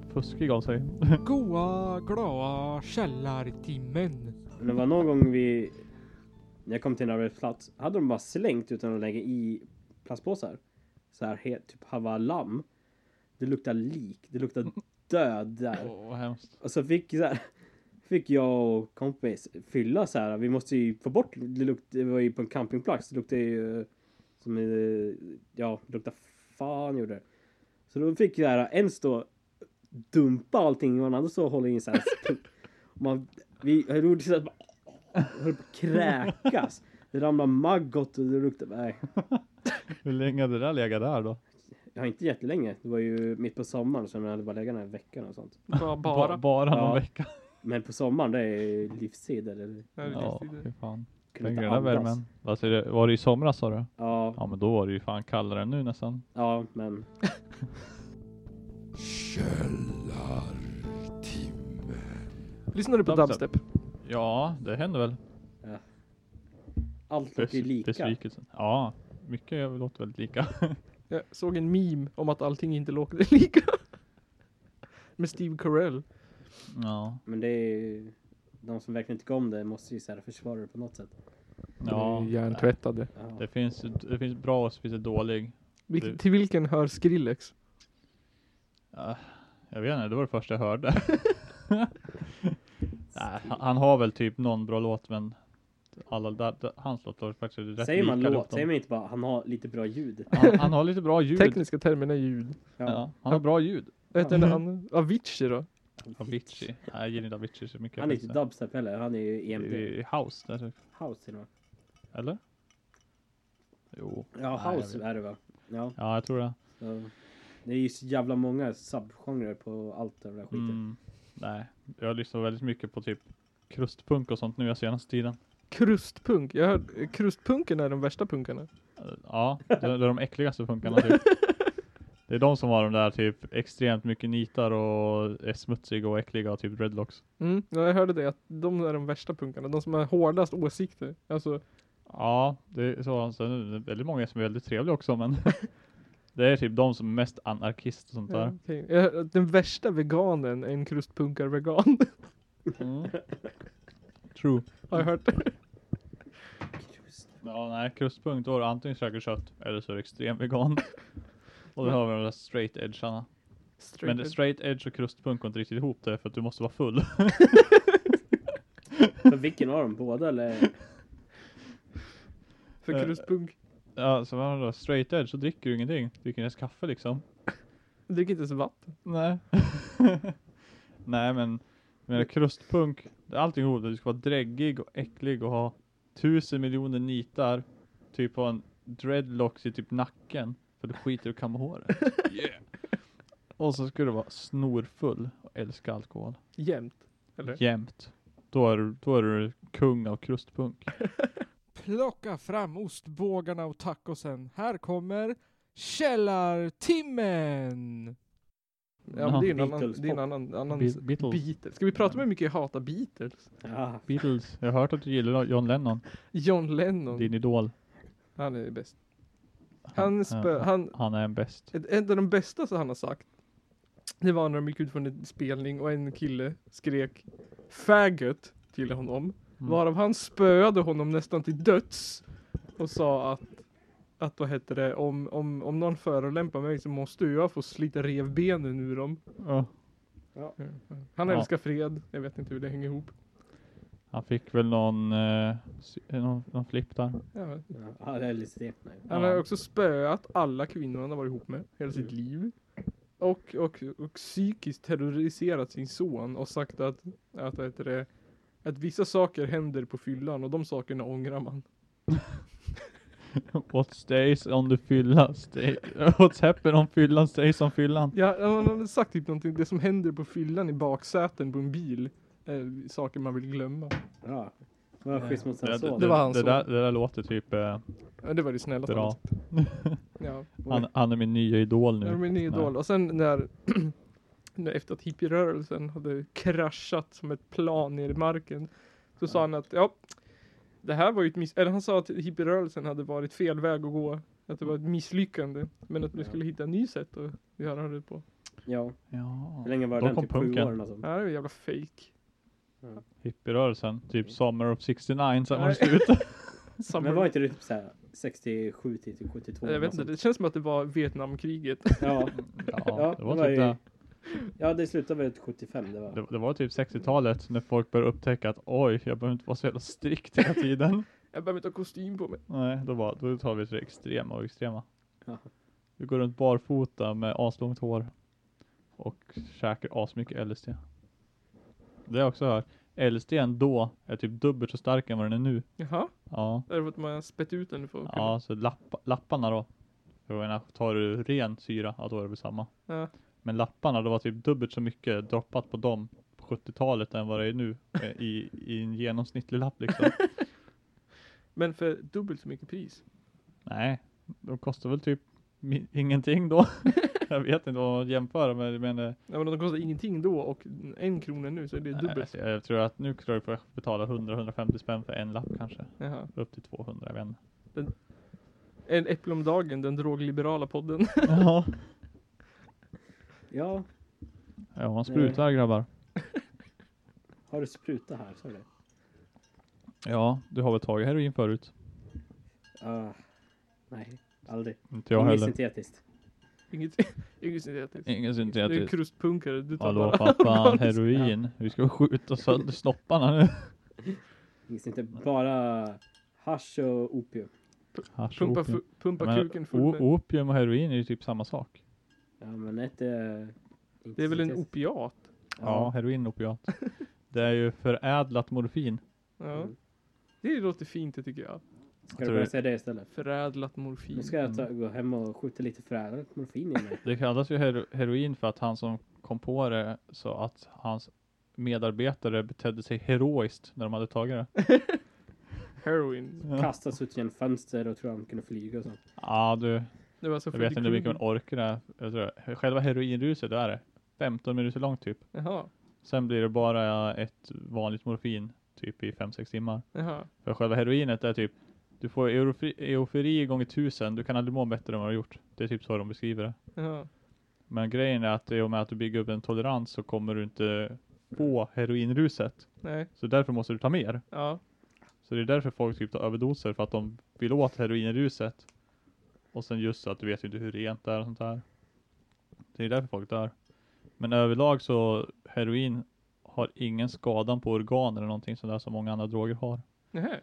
S2: fuskig av sig.
S5: Goa, glada källartimmen.
S3: Men det var någon gång vi... När jag kom till en arbetsplats hade de bara slängt utan att lägga i plastpåsar. Så här helt, typ halva lamm. Det luktar lik, det luktar död där.
S2: Åh, vad hemskt.
S3: Och så Alltså, fick, så här, fick jag och kompis fylla så här. Vi måste ju få bort, det, lukt, det var ju på en campingplats. Det luktade ju eh, som, eh, ja, det luktade fan gjorde det. Så då fick jag här, en stå dumpa allting och en annan stå och hålla in så här. Och Man, vi jag gjorde så här, bara- höll på att kräkas. Det ramlade maggot och det luktade, nej.
S2: Hur länge hade det där legat där då?
S3: Jag har inte jättelänge. Det var ju mitt på sommaren så jag hade bara legat den här veckan och sånt.
S1: Bara, bara.
S2: Ba- bara någon
S3: Ja.
S2: vecka.
S3: Men på sommaren det är livstid eller?
S1: Nej, det är
S2: Ja,
S1: livstider.
S2: fy fan.
S3: kunde
S2: Den
S3: inte
S2: gröna
S3: andas.
S2: värmen. Vad säger du? Var det i somras sa du?
S3: Ja,
S2: Ja men då var det ju fan kallare än nu nästan.
S3: Ja, men
S1: Lyssnar du på
S2: Dubstep.
S1: dubstep?
S2: Ja, det händer väl.
S3: allt låter ju
S2: Bes-
S3: lika.
S2: Besvikelsen. Ja, mycket låter väldigt lika.
S1: Jag såg en meme om att allting inte låter lika. Med Steve Carell.
S2: Ja,
S3: Men det är ju... De som verkligen tycker om det måste ju så här försvara det på något sätt.
S2: ja.
S1: Järntvättade.
S3: Ja.
S2: Det finns, det finns bra och så finns det dålig.
S1: Vilken-
S2: Du-
S1: till vilken hör Skrillex?
S2: Ja, Äh, jag vet inte, det var det första jag hörde. Nej, han- han har väl typ någon bra låt men alla, där, där, hans låt var faktiskt rätt
S3: Säger man
S2: lika
S3: låt,
S2: låten.
S3: säger man inte bara han har lite bra ljud?
S2: han, han har lite bra ljud.
S1: Tekniska termen är ljud.
S2: Ja, han har bra ljud.
S1: Vad heter den andra? Avicii då?
S2: Avicii. Nej, jag gillar inte Avicii så mycket.
S3: Han är inte
S2: faktiskt.
S3: dubstep heller, han är ju
S2: Det
S3: EMP.
S2: är House där, typ.
S3: House till och med.
S2: eller? Jo.
S3: Ja,
S2: Nej,
S3: house
S2: jag
S3: är det va? Ja.
S2: Ja, jag tror det.
S3: så- Det är ju så jävla många subgenrer på allt av det där skiten.
S2: Mm, nej, jag lyssnar väldigt mycket på typ krustpunk och sånt nu jag senaste tiden.
S1: Krustpunk. Jag hör, krustpunken är de värsta punkarna.
S2: Eh, Ja, det, det är de äckligaste punkarna typ. Det är de som har de där typ extremt mycket nitar och är smutsiga och äckliga och typ dreadlocks.
S1: Mm. Ja, jag hörde det, att de är de värsta punkarna. De som har hårdast åsikter. Alltså,
S2: Ja, det är så. Sen är det väldigt många som är väldigt trevliga också men det är typ de som är mest anarkist och sånt
S1: ja,
S2: där.
S1: okej. jag hör, att den värsta veganen är en krustpunkar-vegan.
S2: Mm. True.
S1: har jag hört.
S3: Just.
S2: Ja, nej, krustpunk då är det antingen käkar kött eller så är det extrem vegan. Och då har vi de där straight edgearna.
S1: Straight
S2: Men
S1: edge.
S2: straight edge och krustpunk går inte riktigt ihop det för att du måste vara full.
S3: För vilken av dem? Båda eller?
S1: För
S2: eh,
S1: krustpunk.
S2: ja, så vad har du då? Straight edge så dricker du ingenting. Du dricker inte ens kaffe liksom.
S1: Jag dricker inte ens vatten.
S2: Nej. Nej men, men
S1: Mm.
S2: krustpunk, det är allting ihop. Du ska vara dräggig och äcklig och ha tusen miljoner nitar. Typ ha en dreadlocks i typ nacken. För du skiter och kammar håret. Yeah. Och så ska du vara snorfull och älska alkohol.
S1: Jämt. Eller?
S2: Jämt. Då är, du- då är du kung av krustpunk.
S5: Plocka fram ostbågarna och tacosen. Här kommer källartimmen.
S1: Ja, men det är en annan...
S3: Beatles
S1: Det är en
S3: pop.
S1: annan, annan
S2: Be- Beatles.
S1: Beatles. Ska vi prata om hur mycket jag hatar Beatles?
S3: Ja.
S2: Beatles. Jag har hört att du gillar John Lennon,
S1: John Lennon.
S2: din idol.
S1: Han är bäst. Han, spö,
S2: han,
S1: han
S2: han är en bäst.
S1: Ett, ett av de bästa som han har sagt. Det var när de gick ut från en spelning och en kille skrek faggot till honom.
S2: Mm.
S1: Varav han spöade honom nästan till döds. Och sa att, att då hette det om, om, om någon förolämpar mig så måste jag få slita revbenen ur dem.
S2: Mm. Ja.
S1: Han
S2: Ja.
S1: älskar fred. Jag vet inte hur det hänger ihop.
S2: Han fick väl någon, eh, sy- någon, någon flipp där.
S1: Ja, men.
S3: Ja, det är lite det. Nej.
S1: Han
S2: Ja. Mm.
S1: har också spöat alla kvinnor han har varit ihop med hela sitt liv. Och, och, och psykiskt terroriserat sin son och sagt att, att, vad heter det, att vissa saker händer på fyllan och de sakerna ångrar man.
S2: What stays on the fylla stay, What's happen on fyllan stays on fyllan.
S1: Ja, han har väl sagt typ någonting, det som händer på fyllan i baksäten på en bil. Är saker man vill glömma.
S3: Ja. Vad schysst mot
S2: Det,
S3: sin son.
S1: det var hans
S2: det,
S1: son.
S2: där, det där låter typ eh,
S1: Ja, det var det snällaste han
S2: bra.
S1: har sagt. Ja.
S2: Han, han är min nya idol
S1: Nu.
S2: nu.
S1: Min idol. Och sen när, när efter att hippierörelsen hade kraschat som ett plan ner i marken. Så sa han att ja, det här var ju ett miss... Eller han sa att hippierörelsen hade varit fel väg att gå. Att det var ett misslyckande. Men att vi
S3: Ja.
S1: skulle hitta en ny sätt att göra det på.
S3: Ja.
S2: Ja.
S3: Hur länge var
S2: Då
S3: den?
S2: kom
S3: Typ sju
S2: punken.
S3: år eller något sånt.
S1: Det här är ju jävla fake.
S2: Hippierörelsen. Typ Summer of 69 sen var
S1: Nej.
S2: det slut.
S1: Summer-
S3: Men var inte det typ såhär 67 till 72?
S1: jag vet
S3: typ något
S1: inte,
S3: sånt?
S1: det känns som att det var Vietnamkriget.
S3: Ja.
S2: Ja,
S3: Ja,
S2: det var
S3: det var
S2: typ
S3: ju-
S2: det.
S3: ja, det slutade väl 75 det var.
S2: Det, det var typ 60-talet när folk började upptäcka att oj, jag behöver inte vara så jävla strikt hela tiden.
S1: Jag behöver inte ha kostym på mig.
S2: Nej, då, var, då tar vi till det extrema och extrema.
S3: Ja.
S2: Vi går runt barfota med aslångt hår och käkar asmycket LSD. Det har jag också hört. LSD då är typ dubbelt så stark än vad den är nu.
S1: Jaha,
S2: Ja,
S1: är det för att man har spett ut den för att
S2: ja så lapp, lapparna då. Jag menar, tar du ren syra, ja då är det väl samma.
S1: Ja.
S2: Men lapparna, det var typ dubbelt så mycket droppat på dem på 70-talet än vad det är nu eh, i, i en genomsnittlig lapp liksom.
S1: Men för dubbelt så mycket pris.
S2: Nej, de kostar väl typ mi- ingenting då. jag vet inte vad man jämför med, men eh,
S1: Ja, men de kostar ingenting då och en krona nu så är det
S2: nej,
S1: dubbelt.
S2: alltså, jag tror att nu tror jag får betala 100-150 spänn för en lapp kanske.
S1: Jaha.
S2: Upp till 200, jag vet inte.
S1: En äpple om dagen, den drogliberala podden.
S2: Ja,
S3: Ja,
S2: ja man sprutar grabbar.
S3: har du spruta här? Sa du det?
S2: Ja, du har väl tagit heroin förut?
S3: Ah, nej, aldrig.
S2: Inte jag
S3: Inget
S2: heller.
S3: syntetiskt.
S1: Inget, inget syntetiskt.
S2: Ingen
S1: Du är
S2: syntetisk.
S1: krustpunkare, du tar
S2: Hallå
S1: bara
S2: pappa,
S1: organiskt.
S2: heroin. Vi ska skjuta sönder snopparna nu.
S3: Inget inte bara hasch och opium.
S2: Hasch och
S1: Pumpa,
S2: opium.
S1: fu- pumpa
S2: Jag menar,
S1: kuken full
S2: o-
S1: med.
S2: Opium och heroin är ju typ samma sak.
S3: Ja, men ett är...
S1: Det är väl en
S3: opium?
S1: opiat?
S2: Ja,
S3: Ja.
S2: heroin och opiat. Det är ju förädlat morfin.
S1: Ja.
S3: Mm.
S1: Det låter fint det tycker jag.
S3: Ska
S2: tror
S3: du börja
S2: det-
S3: säga det istället?
S1: Förädlat morfin.
S3: Nu ska jag ta,
S1: Mm.
S3: gå hem och skjuta lite förädlat morfin i mig.
S2: Det kallas ju hero heroin för att han som kom på det sa att hans medarbetare betedde sig heroiskt när de hade tagit det. Ja,
S1: Heroin.
S3: Kastas ut genom fönster och tror att de kunde flyga och sånt.
S2: du,
S1: Det var alltså
S2: jag vet
S1: Freddy
S2: inte vilken
S1: Krueger.
S2: ork det är. Jag tror, själva heroinruset, det är det. 15 minuter långt typ.
S1: Jaha,
S2: Sen blir det bara ett vanligt morfin typ i 5-6 timmar.
S1: jaha.
S2: För själva heroinet är typ, du får eufori, eufori gånger tusen, du kan aldrig må bättre än vad du har gjort. Det är typ så de beskriver det.
S1: jaha.
S2: Men grejen är att i och med att du bygger upp en tolerans så kommer du inte få heroinruset.
S1: Nej,
S2: Så därför måste du ta mer.
S1: ja.
S2: Så det är därför folk typ tar överdoser, för att de vill åt heroinruset. Och sen just så att du vet ju inte hur rent det är och sånt där. Det är därför folk dör. Men överlag så, heroin har ingen skadan på organ eller någonting sånt där som många andra droger har.
S1: Nähä.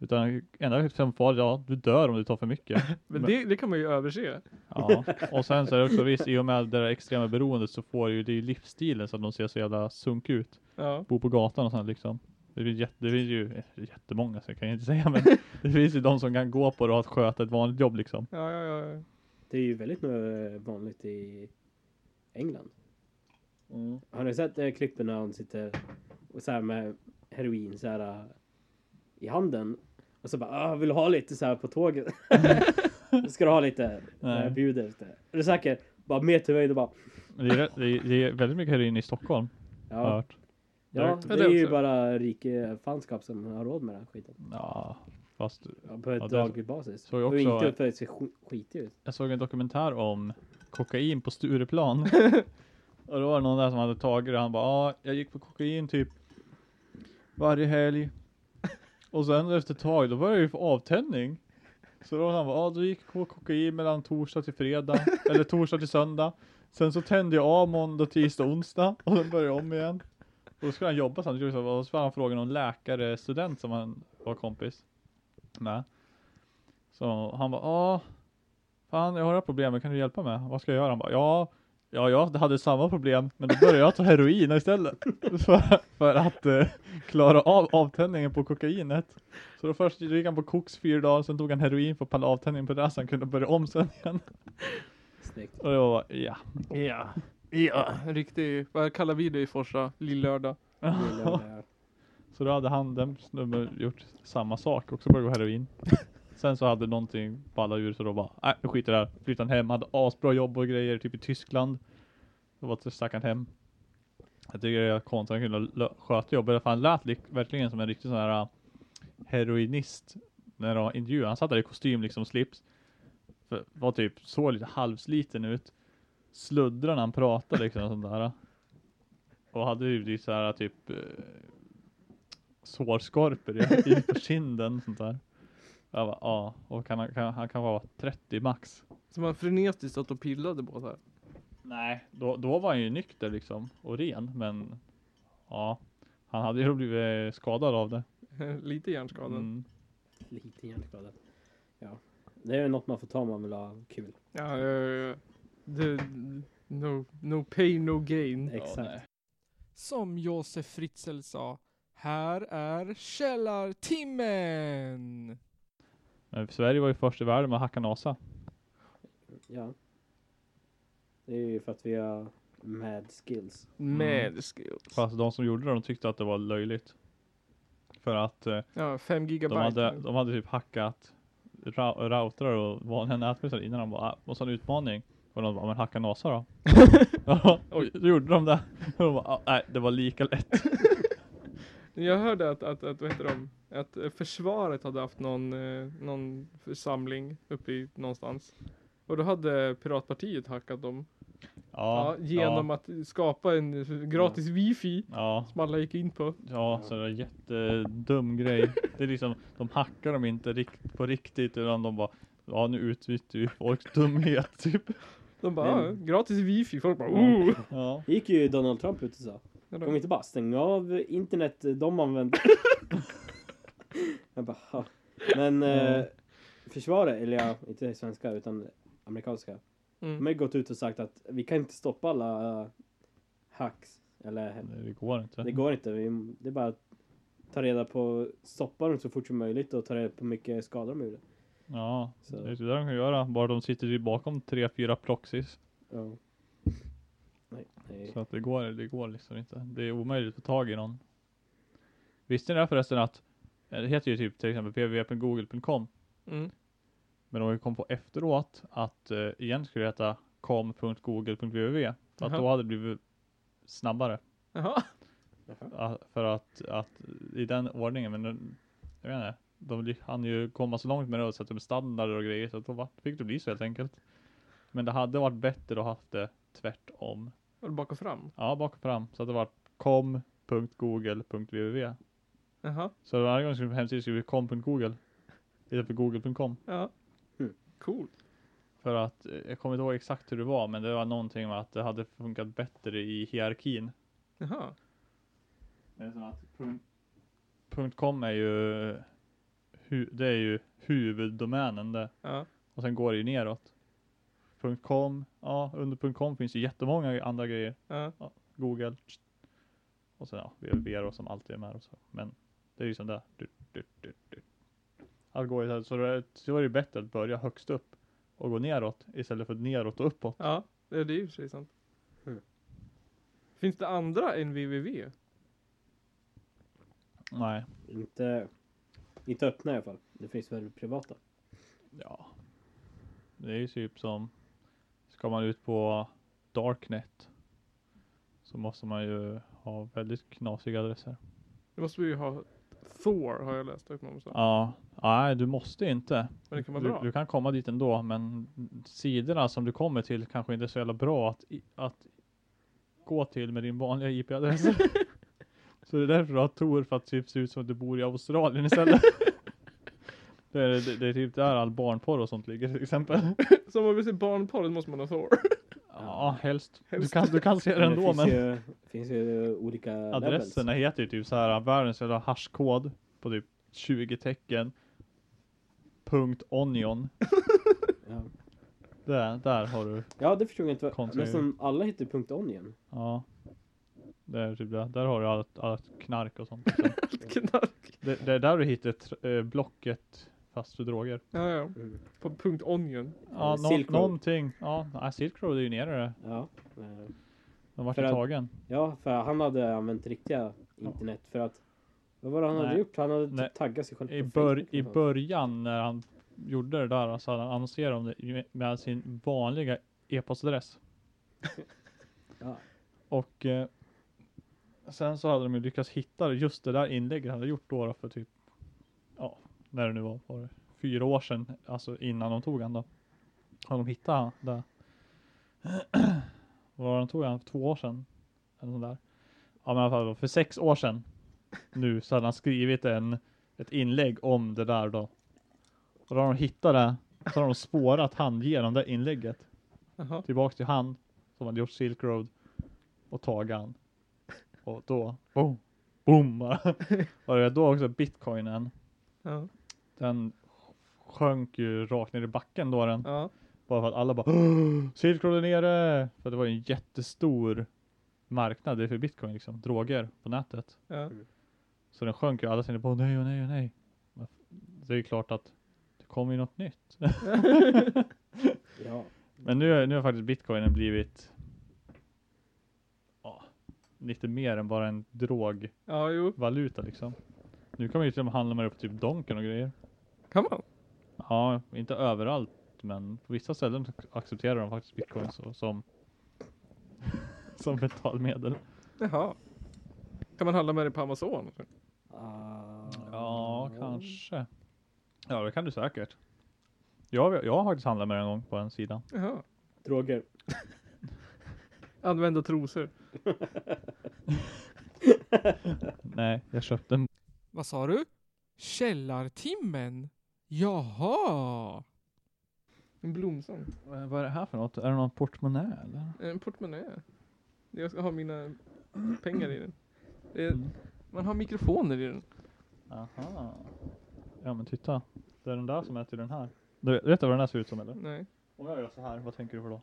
S2: Utan enda som farligt, ja du dör om du tar för mycket.
S1: Men,
S2: Men-
S1: Det, det kan man ju överse.
S2: Ja. Och sen så är det också visst, i och med det där extrema beroendet så får ju, det är ju livsstilen så att de ser så jävla sunk ut
S1: Ja.
S2: bo på gatan och sånt liksom. Det finns, jätte, det finns ju eh, jättemånga så jag kan ju inte säga men det finns ju de som kan gå på det och sköta ett vanligt jobb liksom.
S1: Ja, ja, ja, ja.
S3: Det är ju väldigt eh, vanligt i England. Har ni sett eh, klippen när hon sitter och så här med heroin så här eh, i handen? Och så bara, ah, vill du ha lite så här på tåget? Ska du ha lite?
S2: Nej.
S3: Jag bjuder lite. Är du säker? Bara mer till mig och bara,
S2: Men Det är, rätt- det, är, det är väldigt mycket heroin i Stockholm har jag
S3: ja.
S2: hört.
S3: ja
S1: Ja,
S3: det
S1: det
S3: är ju
S1: också.
S3: bara rike fanskap som har råd med den här skiten.
S2: Ja, fast
S3: Ja, på ett
S2: Ja, det-
S3: daglig basis.
S2: såg jag
S3: och
S2: också-
S3: inte för att det ser sk- skitigt ut.
S2: jag såg en dokumentär om kokain på Stureplan. och då var det någon där som hade tagit det och han bara ja, jag gick på kokain typ varje helg. Och sen efter ett tag, då började jag ju få avtändning. Så då han bara, ja då gick jag på kokain mellan torsdag till fredag, eller torsdag till söndag. Sen så tände jag av måndag, tisdag, onsdag och sen började jag om igen. Och då skulle han jobba samtidigt, och så var han frågan någon läkare, student som han var kompis med. Så han bara, ja, fan jag har det här problemet, kan du hjälpa mig? Vad ska jag göra? Han bara, ja, Ja, jag hade samma problem, men då började jag ta heroin istället. För, för att eh, klara av avtändningen på kokainet. Så då först gick han på koks fyra dagar, sen tog han heroin för att palla avtändningen på det, så han kunde börja om sen igen.
S3: Snyggt.
S2: Och det var bara, ja.
S1: Ja. Ja, en riktig, vad kallar vi det i Forsa? Lillördag.
S2: Så då hade han, den snubben, gjort samma sak, också börjat gå heroin. Sen så hade någonting ballat ur, så då bara, nej, jag skiter i det här. Flyttade han hem, hade asbra jobb och grejer, typ i Tyskland. Då var det stack han hem. Jag tycker att Kontan kunde lö- sköta jobbet, för han lät lik- verkligen som en riktig sån här äh, heroinist när de intervjuade. Han satt där i kostym, liksom slips. För, var typ, såg lite halvsliten ut. Sluddrade när han pratade liksom och sånt där. Och hade ju lite så här typ eh, sårskorpor i, i på kinden och sånt där. Jag bara, ja, och kan, han- kan, han kan vara 30 max.
S1: Som han frenetiskt satt och pillade på så här.
S2: Nej, då, då var han ju nykter liksom och ren, men ja, han hade ju blivit skadad av det.
S1: Lite hjärnskadad.
S2: Mm.
S3: Lite hjärnskadat. Ja. Det är ju något man får ta om man vill ha kul.
S1: Ja, eh, det, no, no pain, no gain.
S3: Exakt.
S2: nej.
S5: Som Josef Fritzl sa, här är källartimmen!
S2: Men Sverige var ju först i världen med att hacka NASA.
S3: Ja. Det är ju för att vi har mad skills.
S2: Mm.
S1: Med skills.
S2: Fast de som gjorde det, de tyckte att det var löjligt. För att eh,
S1: Ja, 5
S2: de,
S1: gigabyte.
S2: hade, de hade typ hackat ra- routrar och vanliga nätverkare innan de bara, "Ah, måste ha en utmaning. Och de bara, men hacka NASA då. Ja, Oj, då gjorde de det. Och de bara, "Ah, nej, det var lika lätt.
S1: Jag hörde att, att, att, vad heter de? att eh, försvaret hade haft någon, eh, någon församling uppe i någonstans. Och då hade Piratpartiet hackat dem. Ja, genom att skapa en eh, gratis wifi
S2: Ja,
S1: som alla gick in på.
S2: ja, så det är en jättedum grej. Det är liksom, de hackar dem inte rikt, på riktigt utan de bara, ja nu utnyttjar vi folks dumhet typ.
S1: De bara,
S3: Men-
S1: "Ah, gratis wifi. Folk bara, oh!
S2: Ja,
S3: Det gick ju Donald Trump ut och sa.
S1: Ja,
S3: Kan vi
S1: de-
S3: inte bara stänga av internet de använder? jag bara, "Ja." Men eh, försvaret, eller ja, inte svenska utan amerikanska. De
S1: Mm.
S3: har ju gått ut och sagt att vi kan inte stoppa alla eh, hacks. Eller
S2: det går inte.
S3: det går inte. Vi, det är bara att ta reda på, stoppa dem så fort som möjligt och ta reda på hur mycket skada de gjorde.
S2: Ja,
S3: Så.
S2: det är typ det de kan göra. Bara de sitter ju bakom tre, fyra proxys.
S3: Ja. Nej, nej.
S2: Så att det går, det går liksom inte. Det är omöjligt att få tag i någon. Visste ni det här förresten att, det heter ju typ till exempel pv.google.com
S1: Mm.
S2: Men de kom på efteråt att eh, igen skulle det heta com.google.ww. För att
S1: Jaha.
S2: då hade det blivit snabbare.
S1: Jaha.
S2: Ah, För att, att i den ordningen, men den- jag vet inte. De hann ju komma så långt med det och sätta upp standarder och grejer så att då var- fick det bli så helt enkelt. Men det hade varit bättre att haft det tvärtom.
S1: Var det bak och fram?
S2: Ja, bak och fram. Så att det var com.google.ww.
S1: Jaha.
S2: Så varje gång du skulle på hemsidan skulle det bli com.google istället för google.com.
S1: Ja.
S3: Mm.
S1: Cool.
S2: För att, eh, jag kommer inte ihåg exakt hur det var, men det var någonting med att det hade funkat bättre i hierarkin.
S1: Jaha.
S2: Det är som att punkt, punkt .com är ju, hu, det är ju huvuddomänen det.
S1: Ja.
S2: Och sen går det ju neråt. Punkt .com, ja under punkt .com finns ju jättemånga andra grejer.
S1: Ja.
S2: Google. tsch. Och sen ja, www och som alltid är med och så. Men det är ju som det. Du, du, du, du. Allt går ju så här, så det är- så är det ju bättre att börja högst upp och gå neråt istället för neråt och uppåt.
S1: Ja, det det är ju i och för sig sant.
S3: Mm.
S1: Finns det andra än www?
S2: Nej.
S3: Inte, inte öppna i alla fall. Det finns väl privata.
S2: Ja. Det är ju typ som, ska man ut på Darknet så måste man ju ha väldigt knasiga adresser.
S1: Det måste vi ju ha Thor har jag läst upp någonstans.
S2: Ja, nej du måste inte.
S1: Men det kan vara
S2: Du,
S1: bra.
S2: du kan komma dit ändå, men sidorna som du kommer till kanske inte är så jävla bra att, i- att gå till med din vanliga IP-adress. så det är därför du har Tor, för att typ se ut som att du bor i Australien istället. det, är, det, det är typ där all barnporr och sånt ligger till exempel.
S1: Så om man vill se barnporr då måste man ha Thor.
S2: Ja, helst.
S1: Helst.
S2: Du, kan, du kan se det ändå,
S3: finns
S2: men
S3: ju, finns ju olika
S2: adresserna
S3: levels.
S2: heter ju typ så här världens jävla hashkod på typ 20 tecken. Punkt onion.
S3: Ja.
S2: Där, där har du.
S3: Ja, det förstod jag inte. vad-
S2: Konstigt.
S3: Nästan alla hittar ju .on igen.
S2: Ja. Där, typ där, där har du allt, allt knark och sånt.
S1: Knark.
S2: Det, det är där du hittar tr- eh, Blocket fast för droger.
S1: Ja, ja.
S3: Mm.
S1: På punkt onion.
S2: Ja,
S3: Eh, Silk
S2: nå-
S3: Road.
S2: någonting. Ja, nej, Silk Road är ju nere där.
S3: Ja. eh,
S2: De vart
S3: För
S2: ju
S3: att-
S2: tagen.
S3: Ja, för han hade använt riktiga internet för att vad var det han hade
S2: Nej.
S3: gjort? Han hade typ
S2: Nej.
S3: taggat sig själv
S2: I,
S3: på
S2: bör,
S3: Facebook
S2: I
S3: eller något.
S2: början när han gjorde det där så hade han annonserat om det med- med sin vanliga e-postadress.
S3: Ja.
S2: Och eh, sen så hade de ju lyckats hitta just det där inlägget han hade gjort då, då för typ, ja, när det nu var, var det, fyra år sedan, alltså innan de tog han då. Hade de hittat han där. Vad var det de tog han? Två år sedan? Eller sånt där. Ja men i alla fall, för sex år sedan nu så hade han skrivit en, ett inlägg om det där då. Och då har de hittat det, så har de spårat han genom det inlägget
S1: Jaha.
S2: tillbaks till han som hade gjort Silk Road och tagit han. Och då, boom, boom bara. Och det var då också bitcoinen,
S1: Ja.
S2: den sjönk ju rakt ner i backen då den.
S1: ja.
S2: Bara för att alla bara "Åh, Silk Road är nere! För det var ju en jättestor marknad för bitcoin liksom, droger på nätet.
S1: ja.
S2: Så den sjönk ju, alla tänkte bara "Åh, nej, åh, nej, åh, nej. Men det är ju klart att det kommer ju något nytt.
S3: Ja.
S2: Men nu, nu har faktiskt bitcoinen blivit ja, lite mer än bara en drogvaluta
S1: ja, jo.
S2: liksom. Nu kan man ju till och med handla med det på typ Donken och grejer.
S1: Kan man?
S2: Ja, inte överallt, men på vissa ställen accepterar de faktiskt bitcoin så, som som betalmedel.
S1: Jaha. Kan man handla med det på Amazon?
S3: Ah.
S2: Ja, kanske. Ja, det kan du säkert. Jag, jag har faktiskt handlat med det en gång på en sida.
S1: Jaha.
S3: Droger.
S1: Använda trosor.
S2: Nej, jag köpte en
S5: Vad sa du? Källartimmen? Jaha!
S1: En blomsång.
S2: Eh, Vad är det här för något? Är det någon portmonnä eller?
S1: Eh, En portmonnä. Jag ska ha mina pengar i den. Det är,
S2: Mm.
S1: Man har mikrofoner i den.
S2: Aha. Ja men titta. Det är den där som är till den här. Du vet, vet du vad den här ser ut som eller?
S1: Nej.
S2: Om jag gör så här, vad tänker du på då?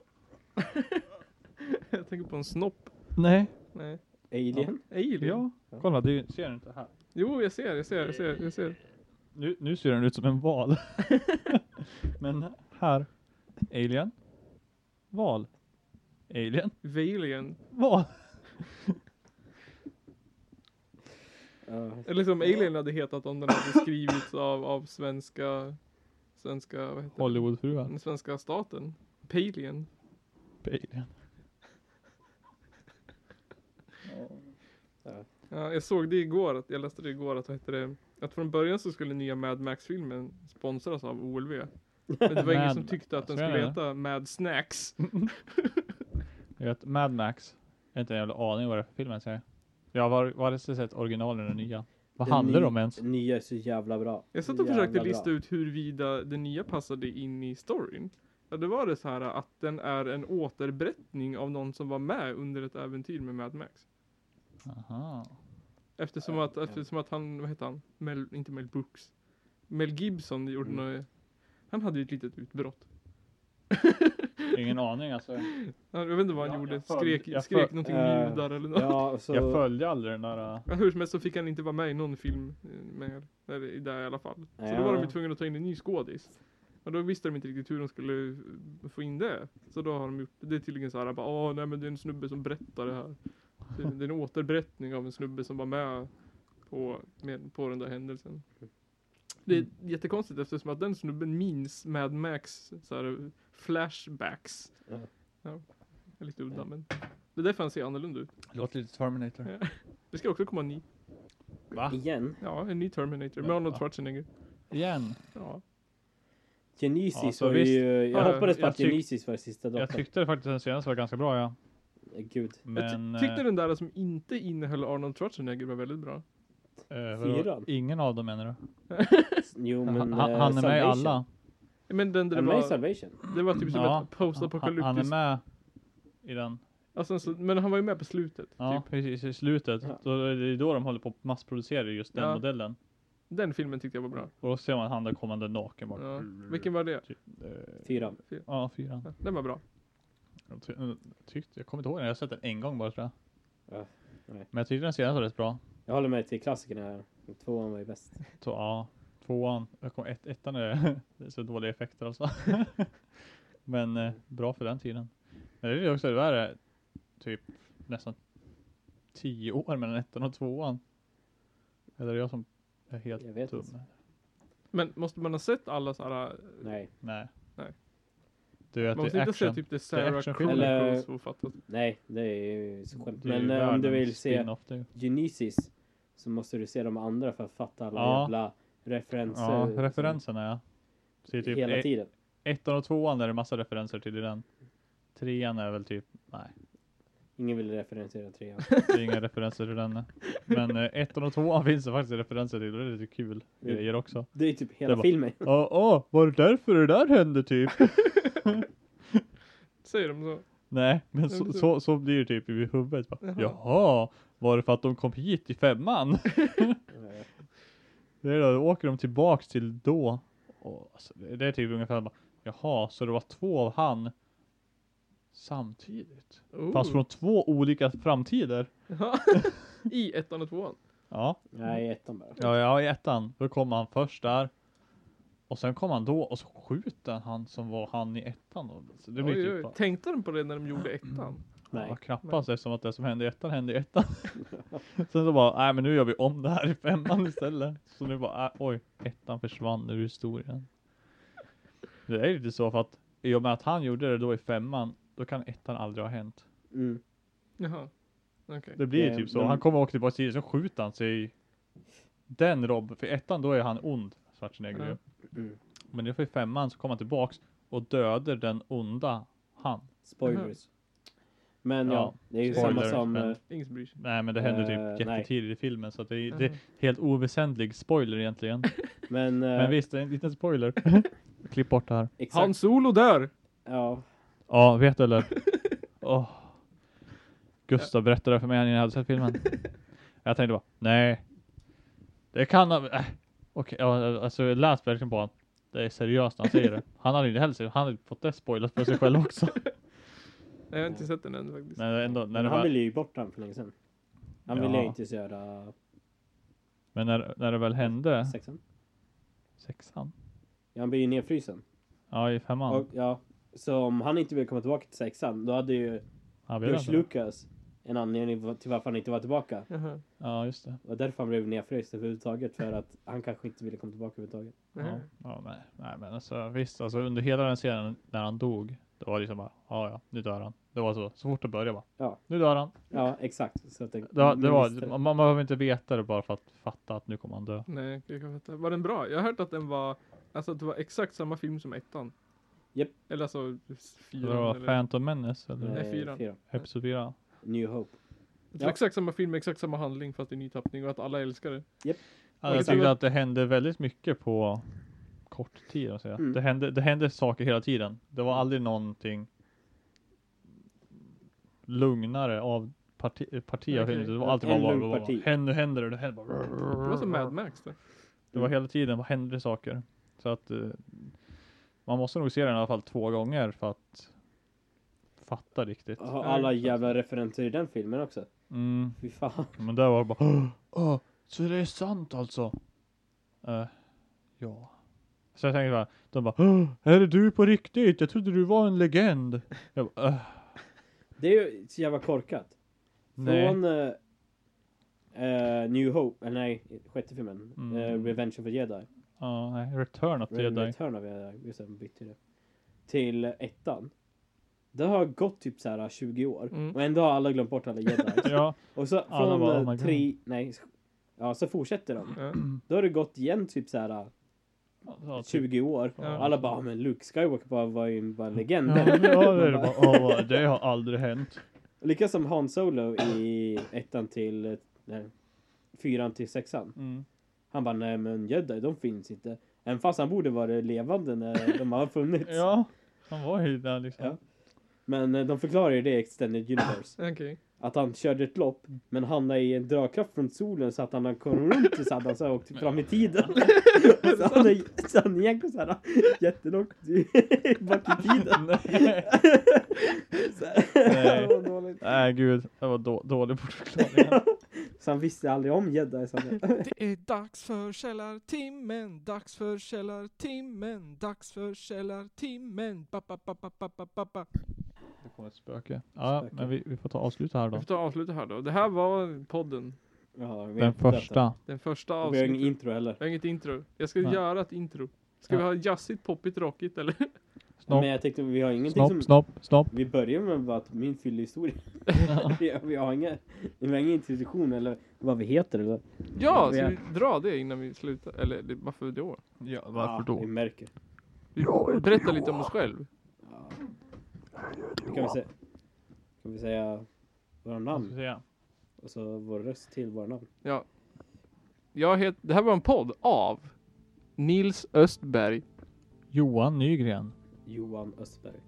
S1: Jag tänker på en snopp.
S2: Nej.
S1: Nej.
S3: Alien.
S1: Alien.
S2: Ja. Kolla, det är- ser den inte här.
S1: Jo, jag ser, jag ser, jag ser, jag ser.
S2: Nu, nu ser den ut som en val. men här. Alien. Val. Alien.
S1: Alien.
S2: Val.
S3: Ja.
S1: Eller som Alien hade hetat om den hade skrivits av, av svenska, svenska, vad heter
S2: Hollywoodfruar.
S1: den svenska staten. Palien.
S2: Alien.
S1: Ja, jag såg det igår, att, jag läste det igår att, vad heter det, att från början så skulle nya Mad Max-filmen sponsras av OLV. Men det var ingen
S2: Mad
S1: som tyckte att den
S2: Max, vad är
S1: skulle
S2: det?
S1: heta Mad Snacks.
S2: Jag vet, Mad Max. Jag har inte en jävla aning vad det är för film ens är. Jag har var- vare sig sett originalen eller nya. Vad
S3: Den
S2: handlar det
S3: ny-
S2: om ens?
S3: Nya är så jävla bra.
S1: Jag satt
S3: Så
S1: och försökte
S3: jävla bra.
S1: lista ut huruvida det nya passade in i storyn. Ja, det var det så här att den är en återberättning av någon som var med under ett äventyr med Mad Max.
S2: Aha.
S1: Eftersom att, eftersom att han, vad heter han? Mel, inte Mel Brooks. Mel Gibson gjorde
S3: Mm.
S1: något, han hade ju ett litet utbrott.
S2: Ingen aning alltså.
S1: Jag vet inte vad han
S2: Ja,
S1: gjorde,
S2: jag följde-
S1: skrek,
S2: jag
S1: skrek
S2: föl-
S1: någonting
S3: Eh,
S1: judar eller något.
S3: Ja, och så...
S2: Jag följde aldrig den där. äh,
S1: Ja, hur som helst så fick han inte vara med i någon film eh, mer, eller i där i alla fall. Så då var de ju
S3: Ja.
S1: tvungna att ta in en ny skådis. Och då visste de inte riktigt hur de skulle eh, få in det. Så då har de gjort, det är tydligen så här, bara, åh nej men det är en snubbe som berättar det här. Det är, det är en återberättning av en snubbe som var med på, med, på den där händelsen. Det är jättekonstigt eftersom att den snubben minns Mad Max så här, flashbacks.
S3: Ja.
S1: Ja, det är lite udda men. Det är därför han ser annorlunda ut.
S2: Låter lite Terminator.
S1: Det ska också komma en ny
S2: Va?
S3: Igen.
S1: Ja, en ny Terminator med
S2: Ja.
S1: Arnold Schwarzenegger.
S2: Igen?
S1: Ja.
S3: Genesis
S2: Ja, så
S3: var
S2: visst.
S3: ju... Jag
S1: Ja,
S3: hoppades på
S2: jag
S3: att
S2: tyck-
S3: Genesis var sista
S2: Jag
S3: datorn.
S2: tyckte faktiskt den senaste var ganska bra ja.
S3: Gud.
S2: Men...
S1: jag ty- tyckte den där som inte innehöll Arnold Schwarzenegger var väldigt bra.
S2: eh, eh, vadå?
S3: fyran?
S2: Ingen av dem menar du?
S3: Jo men...
S2: Han,
S3: eh,
S2: han är med i
S3: Salvation.
S2: alla.
S1: Men den där det
S3: Han är med i
S1: var,
S3: Salvation.
S1: det var typ som
S2: Ja,
S1: ett
S2: Han, han är
S1: postapokalyptiskt.
S2: med i den.
S1: Alltså, så, men han var ju med på slutet.
S2: Ja,
S1: Typ.
S2: precis i slutet.
S3: Ja.
S2: Då, är det är då de håller på att massproducera just den
S1: Ja.
S2: modellen.
S1: Den filmen tyckte jag var bra.
S2: Och då ser man han där kommande naken bara.
S1: Ja. Vilken var det?
S2: Eh,
S3: Fyran.
S2: Ja, fyran.
S1: Ja, Den var bra.
S2: Jag ty- tyckte, jag kommer inte ihåg den, jag har sett den en gång bara tror jag.
S3: Ja, nej.
S2: Men jag tyckte den senaste var rätt bra.
S3: Jag håller mig till klassikerna här. Tvåan var ju bäst.
S2: Så, ja, tvåan, jag kom, ett, ettan är, det är så dåliga effekter alltså. Men eh, bra för den tiden. Men det är ju också, det där är typ nästan tio år mellan ettan och tvåan. Eller är det jag som är helt
S3: Jag vet
S2: dum?
S3: inte.
S1: Men måste man ha sett alla sådana?
S3: Nej,
S2: Nej.
S1: Nej.
S2: Du
S1: Man
S2: vet, det
S1: måste
S2: är
S1: inte se
S2: action.
S1: typ The Sarah
S2: actionfilm.
S1: Chronicles
S3: Eller-
S1: för att fatta.
S3: nej, det är ju så
S1: typ
S3: skämt.
S2: Det är ju
S3: Men eh, om du
S2: världens
S3: vill se
S2: spin-off, det är ju-
S3: Genesis så måste du se de andra för att fatta alla
S2: Ja.
S3: jävla referenser.
S2: Ja,
S3: som-
S2: referenserna ja. Så det är typ
S3: hela
S2: e-
S3: tiden.
S2: ettan och tvåan är det massa referenser till i den. Trean är väl typ, nej,
S3: Ingen vill referensera trean.
S2: det är inga referenser till den. Men eh, ettan och tvåan finns det faktiskt referenser till och det är lite kul grejer också.
S3: Det är typ hela
S2: Det var-
S3: filmen.
S2: Åh, åh, var det därför det där hände typ?
S1: Säger de så?
S2: nej, men så, så, så blir det typ i huvudet. Bara,
S1: Jaha.
S2: Jaha, var det för att de kom hit i femman?
S3: Eh,
S2: Det är då, då åker de tillbaks till då. Och, alltså, det det är typ ungefär bara, jaha, så det var två av han samtidigt?
S1: Oh.
S2: Fast från två olika framtider.
S1: Ja. I ettan och tvåan.
S2: Ja,
S3: Nej, ettan bara.
S2: ja, ja i ettan. Då kom han först där. Och sen kom han då och så skjuter han som var han i ettan. Då. Så det blir
S1: Oj,
S2: typ
S1: oj.
S2: bara,
S1: Tänkte de på det när de gjorde ettan?
S2: ja,
S3: Nej.
S2: knappast eftersom att det som hände i ettan hände i ettan. sen så bara, nej men nu gör vi om det här i femman istället. Så nu bara, äh, oj, ettan försvann ur historien. Det är lite så för att i och med att han gjorde det då i femman, då kan ettan aldrig ha hänt.
S3: Mm.
S1: Jaha. Okej.
S2: Det blir ju
S3: Eh,
S2: typ så.
S3: men-
S2: Han kommer åka tillbaka till så skjuter han sig i den Rob. För i ettan då är han ond, Schwarzenegger ju.
S1: Ja.
S3: Mm.
S2: Men det är för i femman så kommer han tillbaks och dödar den onda han.
S3: Spoilers. Men
S2: Mhm.
S3: ja,
S2: Ja,
S3: det är ju
S2: spoilers,
S3: samma som...
S2: men-
S3: eh,
S1: Ingen som bryr sig.
S2: Nej men det händer
S3: Eh, nej.
S2: typ jättetidigt i filmen så att det, är- det är helt oväsentlig spoiler egentligen.
S3: Men, eh,
S2: Men visst, det är en liten spoiler. Klipp bort det här.
S3: exakt.
S1: Han Solo dör!
S3: Ja,
S2: Ja, vet eller? Åh. Gustav berättade det för mig när jag hade sett filmen. Jag tänkte bara, nej. Det kan han... Äh. Okej, ja, alltså jag läste verkligen på honom. Det är seriöst när han säger det. Han hade inte heller sett- han hade fått det spoilat för sig själv också.
S1: Nej, jag har inte sett den än faktiskt.
S2: Men ändå, när
S3: men
S2: det
S3: han
S2: väl,
S3: ville ju bort han för länge sedan. Han
S2: Ja.
S3: ville ju inte göra
S2: men när, när det väl hände,
S3: sexan.
S2: sexan?
S3: Ja, han blir ju nedfrysen.
S2: Ja, i femman.
S3: Och, ja, så om han inte ville komma tillbaka till sexan, då hade ju
S2: Han ville
S3: George
S2: inte det.
S3: Lucas en anledning till varför han inte var tillbaka.
S1: Jaha.
S2: Ja, just det.
S3: Det var därför han blev nedfryst överhuvudtaget. För att han kanske inte ville komma tillbaka överhuvudtaget.
S2: Ja,
S1: Jaha.
S2: ja men, nej, men alltså, visst, alltså, under hela den scenen när han dog, det var liksom bara, ja, ja, nu dör han. Det var så, så fort det började bara,
S3: Ja.
S2: nu dör han.
S3: Ja, exakt. Så att det,
S2: Det, var- det
S3: man
S2: var,
S3: visste
S2: man, man behöver inte veta det bara för att fatta att nu kommer han dö.
S1: Nej, jag kan fatta. Var den bra? Jag har hört att den var, alltså att det var exakt samma film som ettan.
S3: Japp.
S1: Eller alltså s-
S2: Det var
S1: fyran eller...
S2: Phantom Menace eller
S1: Nej.
S3: eh,
S1: fyran.
S2: Episod 4.
S3: New Hope.
S1: Det var exakt samma film, exakt samma handling fast i ny tappning och att alla älskar det.
S2: Ja, jag
S1: exakt.
S2: tyckte att det hände väldigt mycket på kort tid. Att säga.
S3: Mm.
S2: Det, hände, det hände saker hela tiden. Det var aldrig någonting lugnare av parti, parti av
S1: Okej.
S2: filmen. Det var alltid
S3: En
S2: bara, bara,
S3: lugn
S2: bara,
S3: parti.
S2: bara händer, händer det, det händer bara.
S1: Det var som Mad Max det.
S2: Det
S3: Mm.
S2: var hela tiden, vad hände saker? Så att eh, man måste nog se den i alla fall två gånger för att fatta riktigt.
S3: Har alla
S1: exakt.
S3: jävla referenser i den filmen också.
S2: Mm.
S3: Fy fan.
S2: Men där var det bara Åh, så det är sant alltså? Eh, ja. Så jag tänkte bara, de bara "Åh, Är det du på riktigt? Jag trodde du var en legend. Jag bara, "Eh,
S3: Det är ju så jävla korkat.
S2: Nej.
S3: Från eh, eh, New Hope, eller nej, sjätte filmen.
S2: Mm.
S3: Eh, Revenge of the Jedi.
S2: ja, nej, Return of the Jedi.
S3: Return of the Jedi, just det, de bytte ju det. Till ettan. Det har gått typ så här 20 år
S1: Mm.
S3: och ändå har alla glömt bort alla jedi.
S2: Ja,
S3: och så
S2: Alla
S3: från
S2: bara,
S3: eh,
S2: "Oh my
S3: tre, nej, s- ja så fortsätter de.
S1: Ja.
S3: Då har det gått igen typ så här
S2: ja, typ.
S3: 20 år.
S1: Ja.
S3: Och alla bara, "Ah, men Luke Skywalker bara var ju bara en legend.
S2: Ja, ja, det är det bara, "Åh, det har aldrig hänt.
S3: Lika som Han Solo i ettan till, eh, nej, fyran till sexan.
S2: Mm.
S3: Han bara, nej men jedi de finns inte. Även fast han borde vara levande när de har funnits.
S2: Ja, han var ju där liksom.
S3: Ja. Men eh, de förklarar ju det i Extended Universe.
S1: Okej.
S3: att han körde ett lopp men hamnade i en dragkraft från solen så att han kom runt och så hade han så här åkt fram i tiden. så han är- så han är egentligen så här jättelångt bak i tiden. Så här.
S2: Nej.
S3: Det var dåligt.
S2: Nej gud, det var då, dålig bortförklaring.
S3: Så han visste aldrig om gädda. så han-
S5: Det är dags för källartimmen, dags för källartimmen, dags för källartimmen. Ba, ba, ba, ba, ba, ba, ba, ba.
S2: Det kom ett spöke. Ja,
S3: Spöke.
S2: men vi, vi får ta avsluta här
S1: Vi
S2: då.
S1: får ta och avsluta här då. Det här var podden.
S3: Ja, jag vet
S2: Den
S3: inte detta.
S2: första.
S1: Den första
S3: Och Vi har ingen
S1: avsnittet.
S3: intro heller.
S1: Jag har inget intro. Jag ska
S2: Nej.
S1: göra ett intro. Ska
S2: Ja.
S1: vi ha jazzigt, poppigt, rockigt eller?
S2: Snopp,
S3: Men jag tänkte vi har ingenting som...
S2: snopp, snopp, snopp.
S3: Vi börjar med bara att min fyllehistoria. vi, vi har inga, vi har ingen introduktion eller vad vi heter eller?
S1: Ja,
S3: Vi
S1: ska
S3: är-
S1: vi dra det innan vi slutar? Eller det- varför då?
S2: Ja,
S3: Ja, Vi märker.
S1: Vi berätta lite om oss själv.
S3: Ja. Kan vi säga... Kan vi säga våra namn? Och så vår röst till våra namn.
S1: Ja. Jag het, det här var en podd av Nils Östberg.
S2: Johan Nygren.
S3: Johan Östberg.